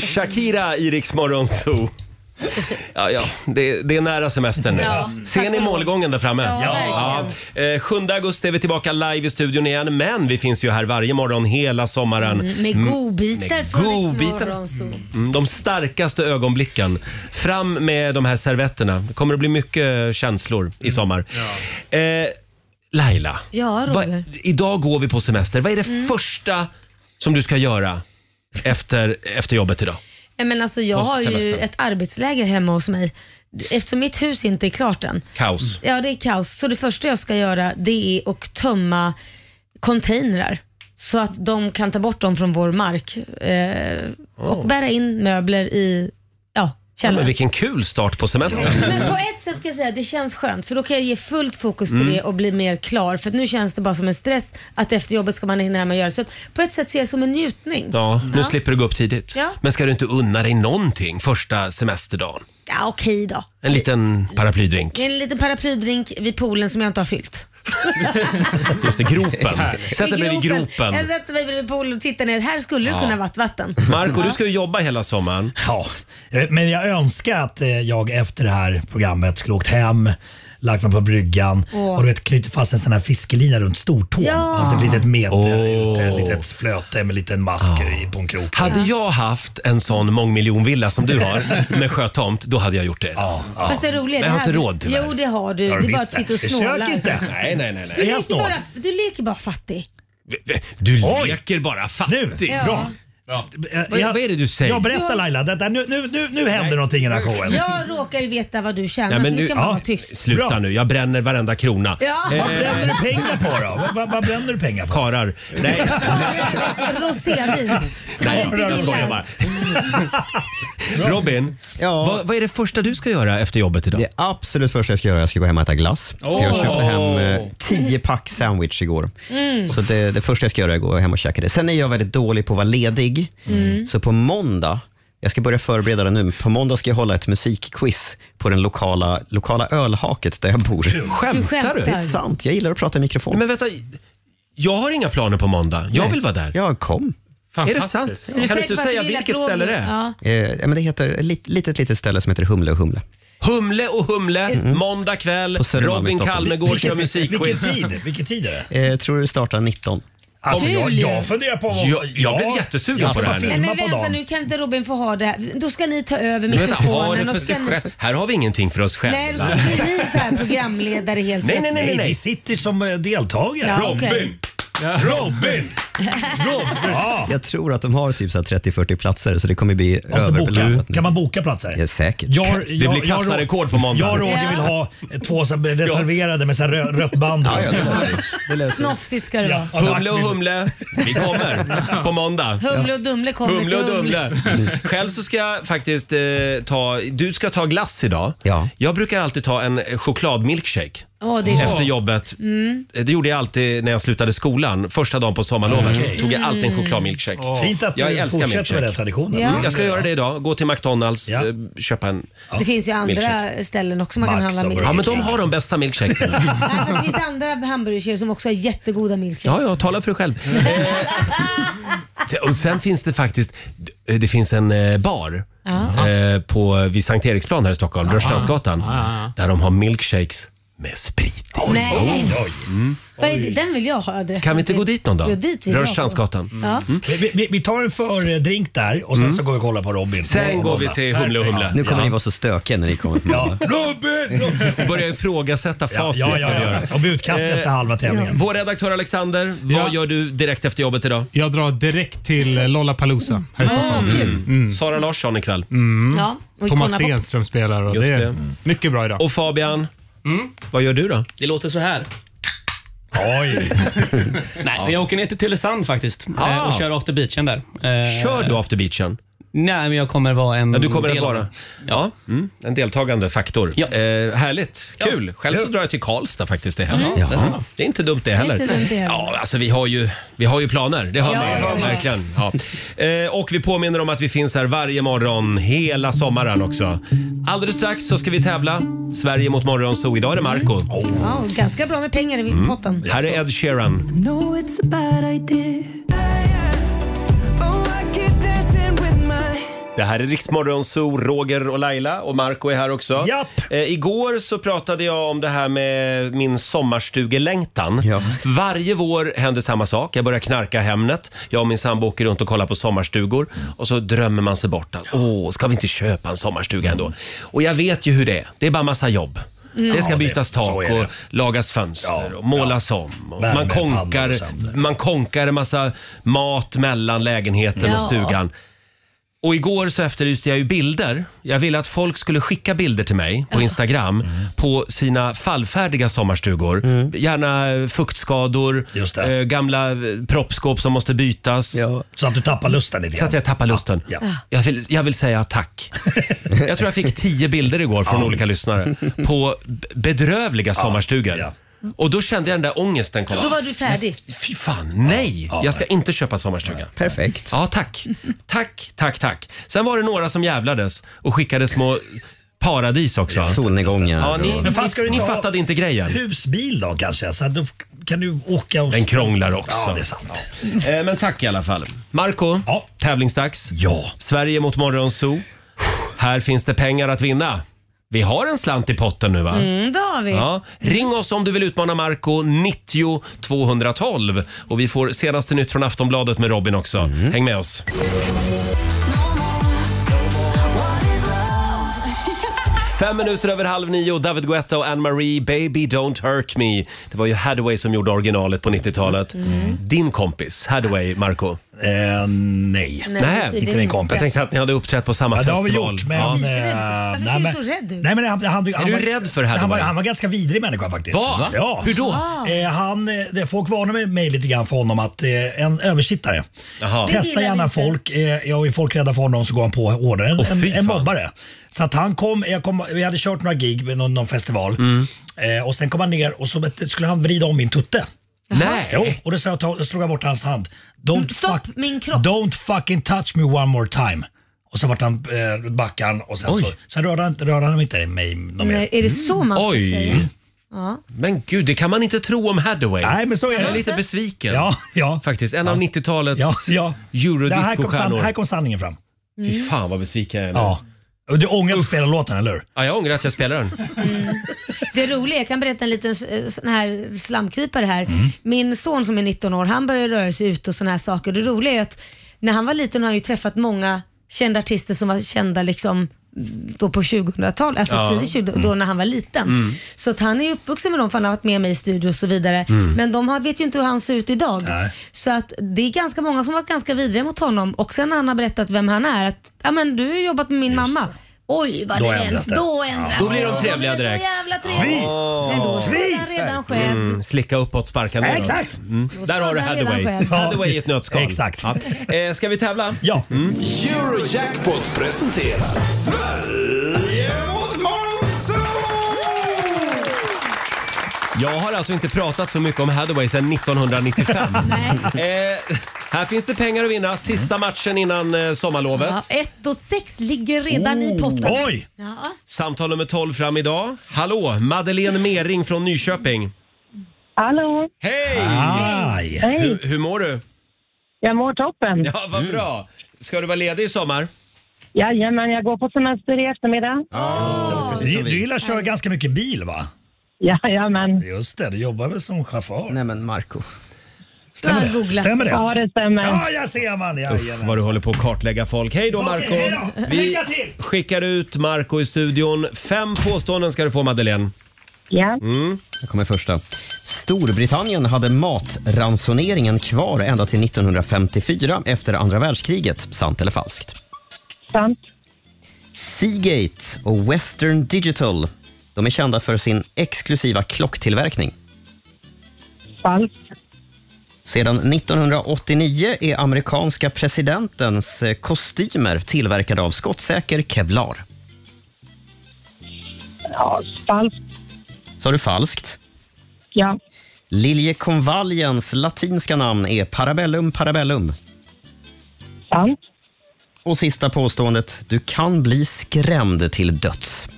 Shakira i Rix Morgon Zoo. Ja, ja. Det, det är nära semestern nu. Ja, Ser tack ni och lov. målgången där framme? Ja, Eh, 7 augusti är vi tillbaka live i studion igen, men vi finns ju här varje morgon hela sommaren. Mm, Med Mm, godbitar med från godbitar. Riksmorgon. så. Mm, de starkaste ögonblicken. Fram med de här servetterna. Det kommer att bli mycket känslor i sommar. Eh, Laila, Ja, vad- Roger. Mm. idag går vi på semester. Vad är det första som du ska göra efter, efter jobbet idag? Ja, Men alltså, jag har ju Påsksemestern. ett arbetsläger hemma hos mig eftersom mitt hus inte är klart än. Kaos. Ja, det är kaos. Så det första jag ska göra det är att tömma containrar så att de kan ta bort dem från vår mark eh, och bära in möbler i ja, Ja, men källaren. vilken kul start på semestern. Men på ett sätt ska jag säga att det känns skönt för då kan jag ge fullt fokus till Mm. det och bli mer klar. För att nu känns det bara som en stress att efter jobbet ska man hinna hem och göra. Så att på ett sätt ser jag det som en njutning. Ja, nu slipper du gå upp tidigt. Ja. Men ska du inte unna dig någonting första semesterdagen? Ja, okej då. En liten paraplydrink. En liten paraplydrink vid poolen som jag inte har fyllt. Just det, gropen. Sätt dig vid Jag gropen. sätter mig vid poolen och tittar ner. Här skulle Ja. det kunna varit vatten. Marco, Ja. du ska ju jobba hela sommaren. Ja, eh, men jag önskar att eh, jag efter det här programmet skulle åkt hem, lagt mig på bryggan Åh. och du vet, knutit fast en sån här fiskelina runt stortån. Ja. Haft ett litet mete, oh. ett litet flöte med en liten mask i, på en krok. Hade jag haft en sån mångmiljonvilla som du har med sjötomt, då hade jag gjort det. Fast det roliga Men jag har är det här- inte råd tyvärr. Jo det har du. Ja, det är bara visst att sitta och det. snåla. Försök inte. Nej, nej, nej, nej. Du Är jag leker, snål? bara, du leker bara fattig. Du leker bara fattig. Nu, bra. Vad, vad är det du säger? Jag berättar Laila, det, det, nu, nu, nu, nu händer någonting i den här showen. Jag råkar ju veta vad du tjänar Nej, så men du nu, kan bara ja, Eh. vara tyst. sluta nu, jag bränner varenda krona. Ja. Vad bränner du pengar på då? Vad, bränner du pengar på? Karar. Nej, Rosévin. Som man nej inte jag skojar gillar. bara. Robin, vad, vad är det första du ska göra efter jobbet idag? Det absolut första jag ska göra är att jag ska gå hem och äta glass. Åh. Jag köpte hem eh, 10 pack sandwich igår. Mm. Så det, det första jag ska göra är att gå hem och käka det. Sen är jag väldigt dålig på att vara ledig. Mm. Så på måndag, jag ska börja förbereda det nu, på måndag ska jag hålla ett musikquiz på den lokala, lokala ölhaket där jag bor. Skämtar du? skämtar. Det är sant. Jag gillar att prata i mikrofon. Men vänta, jag har inga planer på måndag. Jag vill vara där. Ja, kom. Är det sant? Ja. Kan du inte säga vilket ställe det är? Eh, ja, men det heter ett lit, litet, litet ställe som heter Humle och Humle. Humle och Humle, måndag kväll. På Södermalm i Robin Stockholm. Kalmegård kör Vilken- musikquiz. vilken tid? Vilken tid är det? Eh, tror du startar 19? Alltså, jag- jag funderar på vad- Jag, jag blev jättesugen Jag på det ska här Nej, nu. men vänta nu, kan inte Robin få ha det? här? Då ska ni ta över Men vänta, har mikrofonen. det för och sig ska ni... själv? Här har vi ingenting för oss själva. Nej, då ska bli ni så här programledare helt Nej, nej, nej, nej, nej. Vi sitter som eh, deltagare. Ja, Robin! okej. Robin! Robin! Ja. Jag tror att de har typ så här 30-40 platser, så det kommer bli Och så Alltså, boka. överbeläggat. Kan man boka platser? Ja, säkert. Jag, jag, jag- Jag och Roger Ja. vill ha eh, två så- reserverade med så här rö- rött band. Ja, ja, det Snofsigt ska det Ja. vara. Humle och Humle, vi kommer på måndag. Humle och Dumle kommer Humle och till Dumle. Själv så ska jag faktiskt eh, ta, du ska ta glass idag. Ja. Jag brukar alltid ta en eh, chokladmilkshake. Åh, det är Efter gott. jobbet. Mm. Det gjorde jag alltid när jag slutade skolan. Första dagen på sommarlovet Okej. tog jag alltid en Mm. chokladmilkshake. Fint att du jag älskar fortsätter milkshake. med den traditionen. Ja. Mm, Jag ska göra det idag. Gå till McDonalds, eh, köpa en Det finns ju andra milkshake. ställen också man kan handla Ja, men milkshake. de har de bästa milkshakesen. Nej, fast det finns andra hamburgerkedjor som också har jättegoda milkshakes. Ja, ja, tala för dig själv. Eh, t- och sen finns det faktiskt, eh, det finns en eh, bar Ja. eh, på, vid Sankt Eriksplan här i Stockholm, Rörstrandsgatan, där de har milkshakes med sprit i. Nej. Mm. Vad är det? Den vill jag ha adressen Kan vi inte till. gå dit någon dag? Jo, dit vill jag gå. Rörstrandsgatan. Ja. Vi, vi, vi tar en fördrink där och sen Mm. så går vi och kollar på Robin. Sen går vi till Humle och Humle. Nu kommer ni Ja. vara så stökiga när ni kommer. Ja. Robin! Börja ifrågasätta facit. Ja, ja, ja, ska vi ja. göra. Och bli utkastad Eh, efter halva tävlingen. Vår redaktör Alexander, vad gör du direkt efter jobbet idag? Jag drar direkt till eh, Lollapalooza här i Stockholm. Mm. Mm. Sara Larsson ikväll. Mm. Ja, och Thomas Icona Pop. Stenström spelar och Just det det. är mycket bra idag. Mm. Eh. Och Fabian, vad gör du då? Det låter så här. Oj! Nej, jag åker ner till Tylösand faktiskt Ah. eh, och kör after beachen där. Eh, Kör du after beachen? Nej, men jag kommer vara en Ja, du kommer att del- vara ja. mm, en deltagande faktor. Eh, härligt, kul. Själv så drar jag till Karlstad faktiskt det här. Mm. Jaha. Jaha. Det är inte dumt det heller. Inte dumt det heller. Ja, alltså vi har ju, vi har ju planer, det har Ja, man ju. ja, ja. Verkligen. Ja. Eh, och vi påminner om att vi finns här varje morgon hela sommaren också. Alldeles strax så ska vi tävla. Sverige mot Morgonzoo. Idag är det Marco Oh, Ja, och ganska bra med pengar i Mm. potten. Här är Ed Sheeran. No, it's a bad idea. Oh, I keep dancing with my Det här är Riksmorgon Zoo, Roger och Laila och Marco är här också. Eh, igår så pratade jag om det här med min sommarstugelängtan. Varje vår händer samma sak. Jag börjar knarka Hemnet. Jag och min sambo åker runt och kollar på sommarstugor och så drömmer man sig bort. att, Åh, ska vi inte köpa en sommarstuga ändå? Och jag vet ju hur det är. Det är bara massa jobb. Mm. Det ska Ja, det- bytas så tak är det. och lagas fönster och målas om. Och man, Värmepannor och konkar, man konkar en massa mat mellan lägenheten och Ja. stugan. Och igår så efterlyste jag ju bilder. Jag ville att folk skulle skicka bilder till mig på Instagram Mm. på sina fallfärdiga sommarstugor. Gärna eh, fuktskador, eh, gamla eh, proppskåp som måste bytas. Så att du tappar lusten lite Så att jag tappar lusten. Ja. Jag, vill, jag vill säga tack. Jag tror jag fick tio bilder igår från Ja. olika lyssnare på b- bedrövliga sommarstugor. Och då kände jag den där ångesten komma. Då var du färdig. Fy fan, nej! Jag ska inte köpa sommarstuga. Perfekt. Ja, tack. Tack, tack, tack. Sen var det några som jävlades och skickade små paradis också. Solnedgångar. Ja, ni, Men fan, ska du ni, ta- fattade inte grejen. Husbil då kanske? Så att då kan du åka och... Den krånglar också. Ja, det är sant. Eh, Men tack i alla fall. Marco, tävlingsdags. Ja. Sverige mot Morgonzoo. Här finns det pengar att vinna. Vi har en slant i potten nu va? Mm, det har vi. Ja. Ring oss om du vill utmana Marco 90 212. Och vi får senaste nytt från Aftonbladet med Robin också. Häng med oss. Fem minuter över halv nio, David Guetta och Anne-Marie, Baby Don't Hurt Me. Det var ju Hathaway som gjorde originalet på 90-talet. Din kompis Hathaway, Marco? Eh, Nej, nej. tydligen inte min kompis. Jag tänkte att ni hade uppträtt på samma Ja, det har vi festival. gjort, men... Ja. eh, Varför nej, ser men- du så rädd ut? Nej, men han, han, han du var, rädd för han var, Hathaway? han var ganska vidrig människa faktiskt. Va? eh, Ja. Hur då? Ah. Eh, han, eh, det- folk varnar mig lite grann för honom att eh, en översittare Jaha. Det testar gillar vi gärna inte. folk. Eh, ja, är folk rädda för honom så går han på hårdare. En, Åh, fy en, en fan. mobbare. Så att han kom, jag kom, vi hade kört några gig med någon, någon festival Mm. eh, och sen kom han ner och så vet- skulle han vrida om min tutte. Nej. Jo, och då sa jag, ta- slog jag bort hans hand. Don't Mm, Stopp min kropp. Don't fucking touch me one more time. Och så vart han eh, backan och sen, Oj. så, sen rörde, han, rörde han inte mig någon mer. Nej, är det så man ska Oj. Mm. säga? Ja. Men gud, det kan man inte tro om Hathaway. Nej, men så är Jag är det. lite besviken. Ja, ja. Faktiskt, en av 90-talets Ja, ja. Det här, kom san, eurodiscostjärnor. här kom sanningen fram. Fy fan vad besviken jag är nu. Ja. Och Du ångrar att du spelade låten, eller hur? Ja, jag ångrar att jag spelar den. Det roliga, jag kan berätta en liten eh, sån här slamkrypare här. Mm. Min son som är 19 år, han börjar röra sig ut och såna här saker. Det roliga är att när han var liten har han ju träffat många kända artister som var kända liksom då på 2000-talet, alltså Ja. tidigt 20 då när han var liten. Mm. Så att han är uppvuxen med dem för han har varit med mig i studio och så vidare. Mm. Men de har, vet ju inte hur han ser ut idag. Så att det är ganska många som har varit ganska vidriga mot honom och sen när han har berättat vem han är, att ja men du har jobbat med min mamma. Oj vad Då det ändras ändras. det. Då ändras Då blir de det. trevliga blir så direkt. jävla trevliga. Men då är han redan skedd. Mm, slicka uppåt, sparka neråt. Exakt. Mm. Då Där har du ska han redan Hathaway. själv. Hathaway i ett nötskal. Exakt. Ja. Eh, ska vi tävla? Ja. Eurojackpot presenterar Sverige mot Jag har alltså inte pratat så mycket om Hathaway sedan 1995. eh, här finns det pengar att vinna. Sista matchen innan eh, sommarlovet. Ja, ett och sex ligger redan i potten. Oh, oj. Ja. Samtal nummer 12 fram idag. Hallå, Madeleine Mering från Nyköping. Hallå! Hej! Hej. Hej. Hur, hur mår du? Jag mår toppen. Ja, Mm. vad bra. Ska du vara ledig i sommar? Jajamän, jag går på semester i eftermiddag. Du, du gillar att köra ganska mycket bil va? Jajamän. Just det, du jobbar väl som chaufför? Nej men Marco. Stämmer Jag har det? googlat. Stämmer det? Ja, det stämmer. Ja, jag ser man. Ja, Uff, vad du håller på att kartlägga folk. Hej då Marco! Okej, hej då. Vi Lycka till! skickar ut Marco i studion. Fem påståenden ska du få Madeleine. Ja. Mm. Här kommer första. Storbritannien hade matransoneringen kvar ända till 1954 efter andra världskriget. Sant eller falskt? Sant. Seagate och Western Digital de är kända för sin exklusiva klocktillverkning. Falskt. Sedan 1989 är amerikanska presidentens eh, kostymer tillverkade av skottsäker kevlar. Ja, falskt. Sa du falskt? Ja. Liljekonvaljens latinska namn är Parabellum parabellum. Sant. Och sista påståendet. Du kan bli skrämd till döds.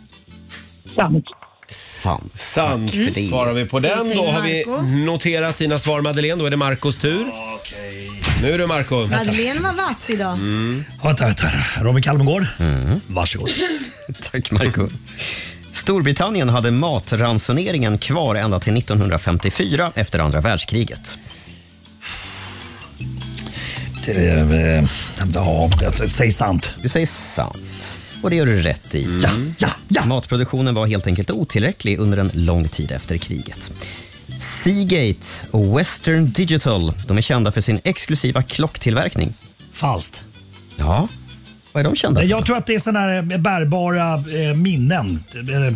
Sant. Sant. Sant Tack för det. svarar vi på den. Då har vi Marco. noterat dina svar Madeleine. Då är det Marcos tur. Nu är det Marco. Madeleine var vass idag. Mm. Vänta, vänta. Robin Kalmegård. Mm. Varsågod. Tack, Marco. Storbritannien hade matransoneringen kvar ända till 1954 efter andra världskriget. eh, Ja, jag säger sant. Du säger sant. Och det gör du rätt i. Ja, Mm. ja, ja. Matproduktionen var helt enkelt otillräcklig under en lång tid efter kriget. Seagate och Western Digital de är kända för sin exklusiva klocktillverkning. Falskt. Ja, vad är de kända för? Jag tror att det är sådana här eh, bärbara eh, minnen. Är det-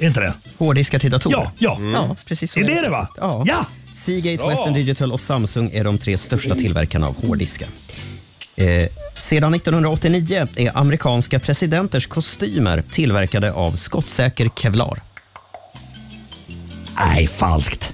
Är inte det? Hårddiskar till datorer. Ja, ja. ja precis så Är det det va? Ja. Seagate, Western Digital och Samsung är de tre största tillverkarna av hårddiskar. Eh, sedan 1989 är amerikanska presidenters kostymer tillverkade av skottsäker kevlar. Nej, falskt.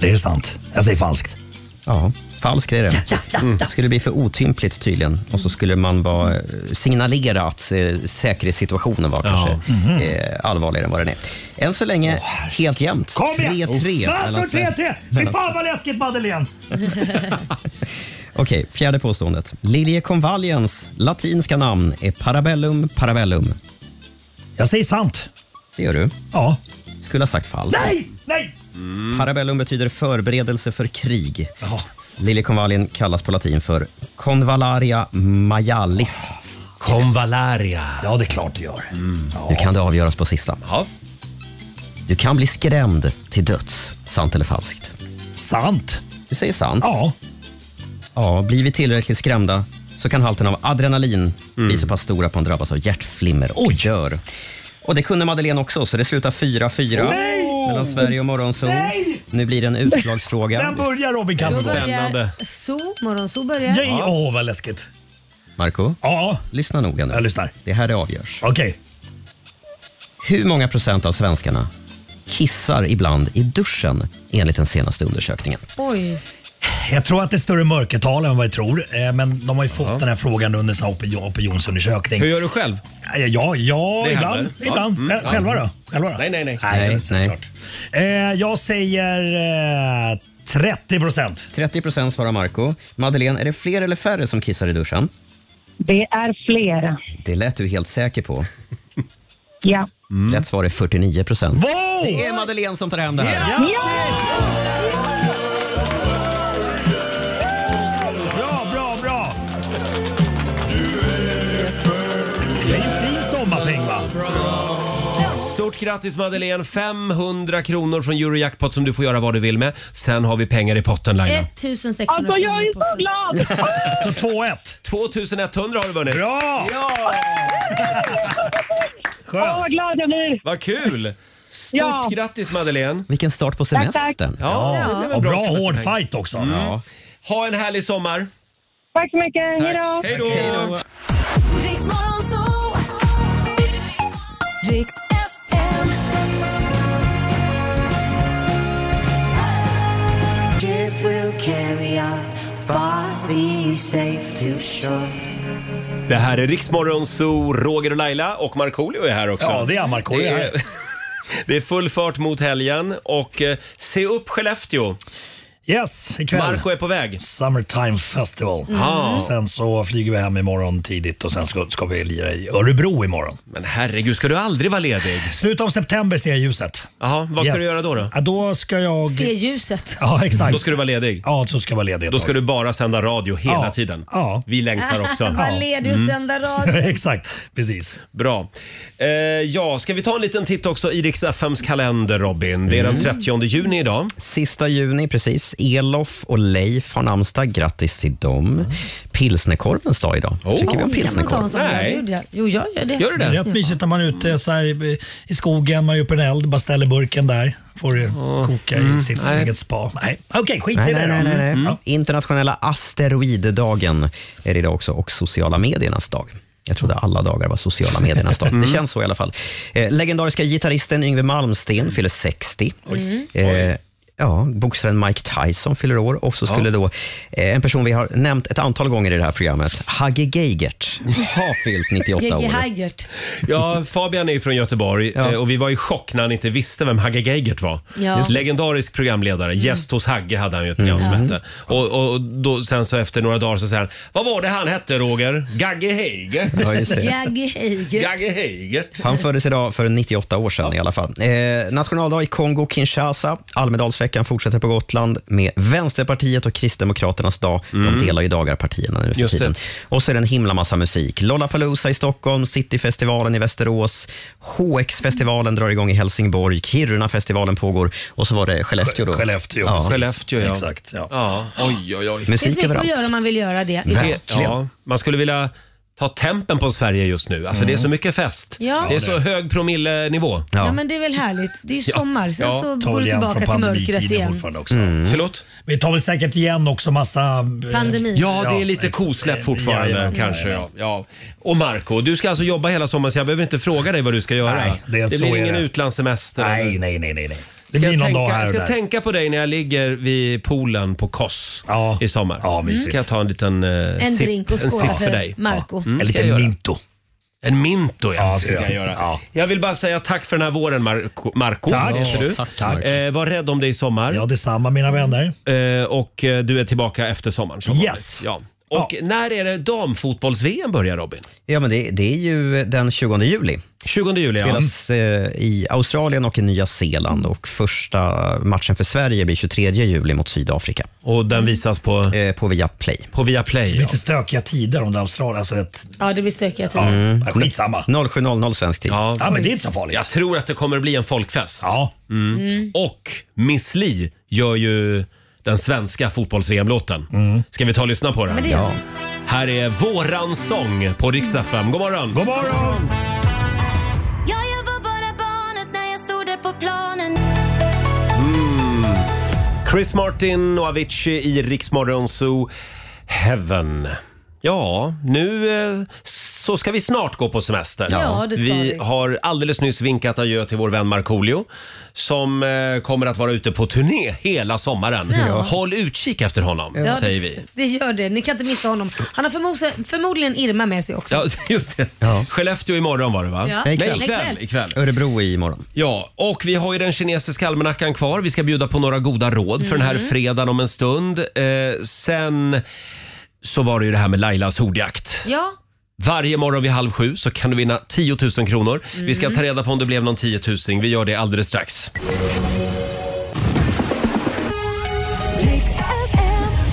Det är sant. Jag säger falskt. Ja, falskt är det. Mm. skulle bli för otympligt tydligen och så skulle man bara eh, signalera att eh, säkerhetssituationen var kanske Mhm. eh, allvarligare än vad den är. Än så länge helt jämnt. Kom igen! 3-3. Alltså mellan Sverige- 3-3! Fy mellan fan vad läskigt Madeleine! Okej, fjärde påståendet. Liljekonvaljens latinska namn är Parabellum parabellum. Jag säger sant. Det gör du? Ja. Skulle ha sagt falskt. Nej! Nej! Parabellum betyder förberedelse för krig. Liljekonvaljen kallas på latin för Convallaria majalis. Convallaria. Ja, det är klart det gör. Ja. Nu kan det avgöras på sista. Ja. Du kan bli skrämd till döds. Sant eller falskt? Sant. Du säger sant? Ja. Ja, blir vi tillräckligt skrämda så kan halten av adrenalin bli så pass stor att man drabbas av hjärtflimmer och gör. Och det kunde Madeleine också, så det slutar 4-4 mellan Sverige och Morgonzoo. Nu blir det en utslagsfråga. Vem börjar Robin Kalmegård? Zoo, morgonzoo börjar. Ja, ja, Åh, vad läskigt. Marco, ja. lyssna noga nu. Jag lyssnar. Det här det avgörs. Okej. Hur många procent av svenskarna kissar ibland i duschen enligt den senaste undersökningen? Oj. Jag tror att det är större mörkertal än vad jag tror. eh, Men de har ju fått den här frågan under sin opinion, opinionsundersökning. Eh, Hur gör du själv? Ja, ja Det ibland. händer. Ja. ibland. Eh, Mm, ja. Själva då? Själva då? Nej, nej, nej. Nej, Nej, nej. såklart. Eh, jag säger eh, 30 procent. 30 procent svarar Marco. Madeleine, är det fler eller färre som kissar i duschen? Det är fler. Det lät du helt säker på. Ja. Rätt svar är 49 procent. Det är Madeleine som tar hem det här. Bra, bra, bra! Det är en fin sommarpeng va? Stort grattis Madeleine! 500 kronor från Eurojackpot som du får göra vad du vill med. Sen har vi pengar i potten Laila. 1600 Alltså jag är så glad! Så 2-1. 2100 har du vunnit. Bra! Ja! Åh, vad glad jag blir! Vad kul! Stort Ja. grattis Madeleine! Vilken start på Tack, tack. semestern. Ja, Ja. det blev en Och bra semesterpeng. hård fight också. Ja. Ha en härlig sommar! Tack så mycket, hejdå! Hej då! Ship will carry our bodies safe to shore. Det här är Riksmorgon Zoo, Roger och Laila och Markoolio är här också. Ja, det är Markoolio Det är- här. Det är full fart mot helgen och eh, se upp Skellefteå. Yes, ikväll. Marco är på väg. Summertime Festival. Mm. Ah. Och Sen så flyger vi hem imorgon tidigt och sen ska, ska vi lira i Örebro imorgon. Men herregud, ska du aldrig vara ledig? Slutet av september ser jag ljuset. Jaha, vad ska du göra då då? Ja, då ska jag... Se ljuset. Ja, exakt. Då ska du vara ledig? Ja, så ska jag vara ledig ett Då ska tag. du bara sända radio hela Ja. tiden? Ja. Vi längtar också. Vad ledig och sända radio. Exakt, precis. Bra. Eh, ja, ska vi ta en liten titt också i Rix FMs kalender, Robin? Det är Mm. den 30 juni idag. Sista juni, precis. Elof och Leif har namnsdag. Grattis till dem. Pilsnerkorvens dag idag. Tycker vi om Kan man pilsnerkorv? ta en sån? Jag gjorde det. Jo, jag gör det. är rätt mysigt när man är ute så här, i- i skogen, man är uppe i en eld, bara ställer burken där. Får det koka Mm. i sitt nej. eget spa. Nej, okej, skit i Nej, det nej, nej, då. nej, nej. Mm. Ja. Internationella asteroiddagen är det idag också och sociala mediernas dag. Jag trodde alla dagar var sociala mediernas dag. Det känns så i alla fall. Eh, legendariska gitarristen Yngwie Malmsten fyller 60. Oj. Eh, ja, boxaren Mike Tyson fyller år och så skulle då eh, en person vi har nämnt ett antal gånger i det här programmet, Hagge Geigert, har fyllt 98 G.G. år. Hagert. Ja, Fabian är ju från Göteborg eh, och vi var i chock när han inte visste vem Hagge Geigert var. Ja. Just det. Legendarisk programledare. Gäst hos Hagge hade han ju ett program som Mm. hette. Och, och då, sen så efter några dagar så säger han, vad var det han hette Roger? Gagge Heigert? Ja, just det. Gagge Hagert. Gagge Heigert. Han föddes idag för 98 år sedan i alla fall. Eh, nationaldag i Kongo-Kinshasa. Almedalsveckan fortsätter på Gotland med Vänsterpartiet och Kristdemokraternas dag. Mm. De delar ju dagar partierna nu för Just det. tiden. Och så är det en himla massa musik. Lollapalooza i Stockholm, Cityfestivalen i Västerås, HX-festivalen drar igång i Helsingborg, Kiruna-festivalen pågår och så var det Skellefteå då. Skellefteå, ja. precis. Skellefteå, ja. Exakt, ja. Ja, oj, oj, oj. Det finns mycket att göra om man vill göra det. Verkligen. Ja, man skulle vilja ta tempen på Sverige just nu. Alltså Mm. det är så mycket fest. Ja. Det är så hög promillenivå. Ja. men det är väl härligt. Det är ju Ja. sommar. Sen Ja. så Ta går det igen tillbaka från till mörkret pandemitiden igen. fortfarande också. Mm. Förlåt? Vi tar väl säkert igen också massa... eh, Pandemi. Ja, det är lite kosläpp fortfarande Jajamän. kanske. Ja. Ja. Och Marco, du ska alltså jobba hela sommaren så jag behöver inte fråga dig vad du ska göra. Nej, det är- så blir är ingen det. utlandssemester. Nej, nej, nej, nej. nej. Det ska jag, blir någon tänka, dag här jag och ska där. tänka på dig när jag ligger vid poolen på Koss i sommar. Ja, mysigt. Ska jag ta en liten eh, En sipp, drink och en skåla sipp för dig. Marco. Mm, En ska jag liten göra. minto. En minto ja, Ja, det ska jag göra. Ja. Jag vill bara säga tack för den här våren Marco. Marco Tack. heter du. Tack, tack. Eh, var rädd om dig i sommar. Ja, detsamma mina vänner. Eh, och eh, du är tillbaka efter sommaren. som vanligt. Yes. Ja. Och när är det damfotbolls-VM börjar Robin? Ja, men det, det är ju den 20 juli. 20 juli, ja. Spelas eh, i Australien och i Nya Zeeland och första matchen för Sverige blir 23 juli mot Sydafrika. Och den visas på? Eh, på Viaplay. På Viaplay, Lite stökiga tider om det är Australien. Alltså ett, Ja, det blir stökiga tider. Mm. Ja, skitsamma. 07.00 svensk tid. Ja. ja, men det är inte så farligt. Jag tror att det kommer bli en folkfest. Ja. Mm. Mm. Och Miss Li gör ju den svenska fotbolls-VM-låten. Mm. Ska vi ta och lyssna på den? Men det gör Ja. vi. Här är Våran sång på riksdag 5. God morgon! God morgon! Ja, jag var bara barnet när jag stod där på planen. Chris Martin och Avicii i Riksmorgon Zoo Heaven. Ja, nu eh, så ska vi snart gå på semester. Ja, det ska vi. har alldeles nyss vinkat adjö till vår vän Markoolio som eh, kommer att vara ute på turné hela sommaren. Ja. Håll utkik efter honom, Ja, säger det- vi. Det gör det. Ni kan inte missa honom. Han har förmo- förmodligen Irma med sig också. Ja, just det. Skellefteå imorgon var det va? Ja. Nej, Nej, ikväll. ikväll. ikväll. Örebro imorgon. Ja, och vi har ju den kinesiska almanackan kvar. Vi ska bjuda på några goda råd för den här Mm. fredagen om en stund. Eh, sen så var det ju det här med Lailas ordjakt. Ja. Varje morgon vid halv sju så kan du vinna 10 000 kronor. Vi ska Mm. ta reda på om det blev någon 10 000. Vi gör det alldeles strax.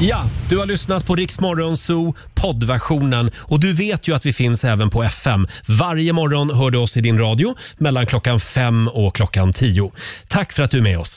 Ja, du har lyssnat på Rix Morgon Zoo poddversionen och du vet ju att vi finns även på FM. Varje morgon hör du oss i din radio mellan klockan fem och klockan tio. Tack för att du är med oss.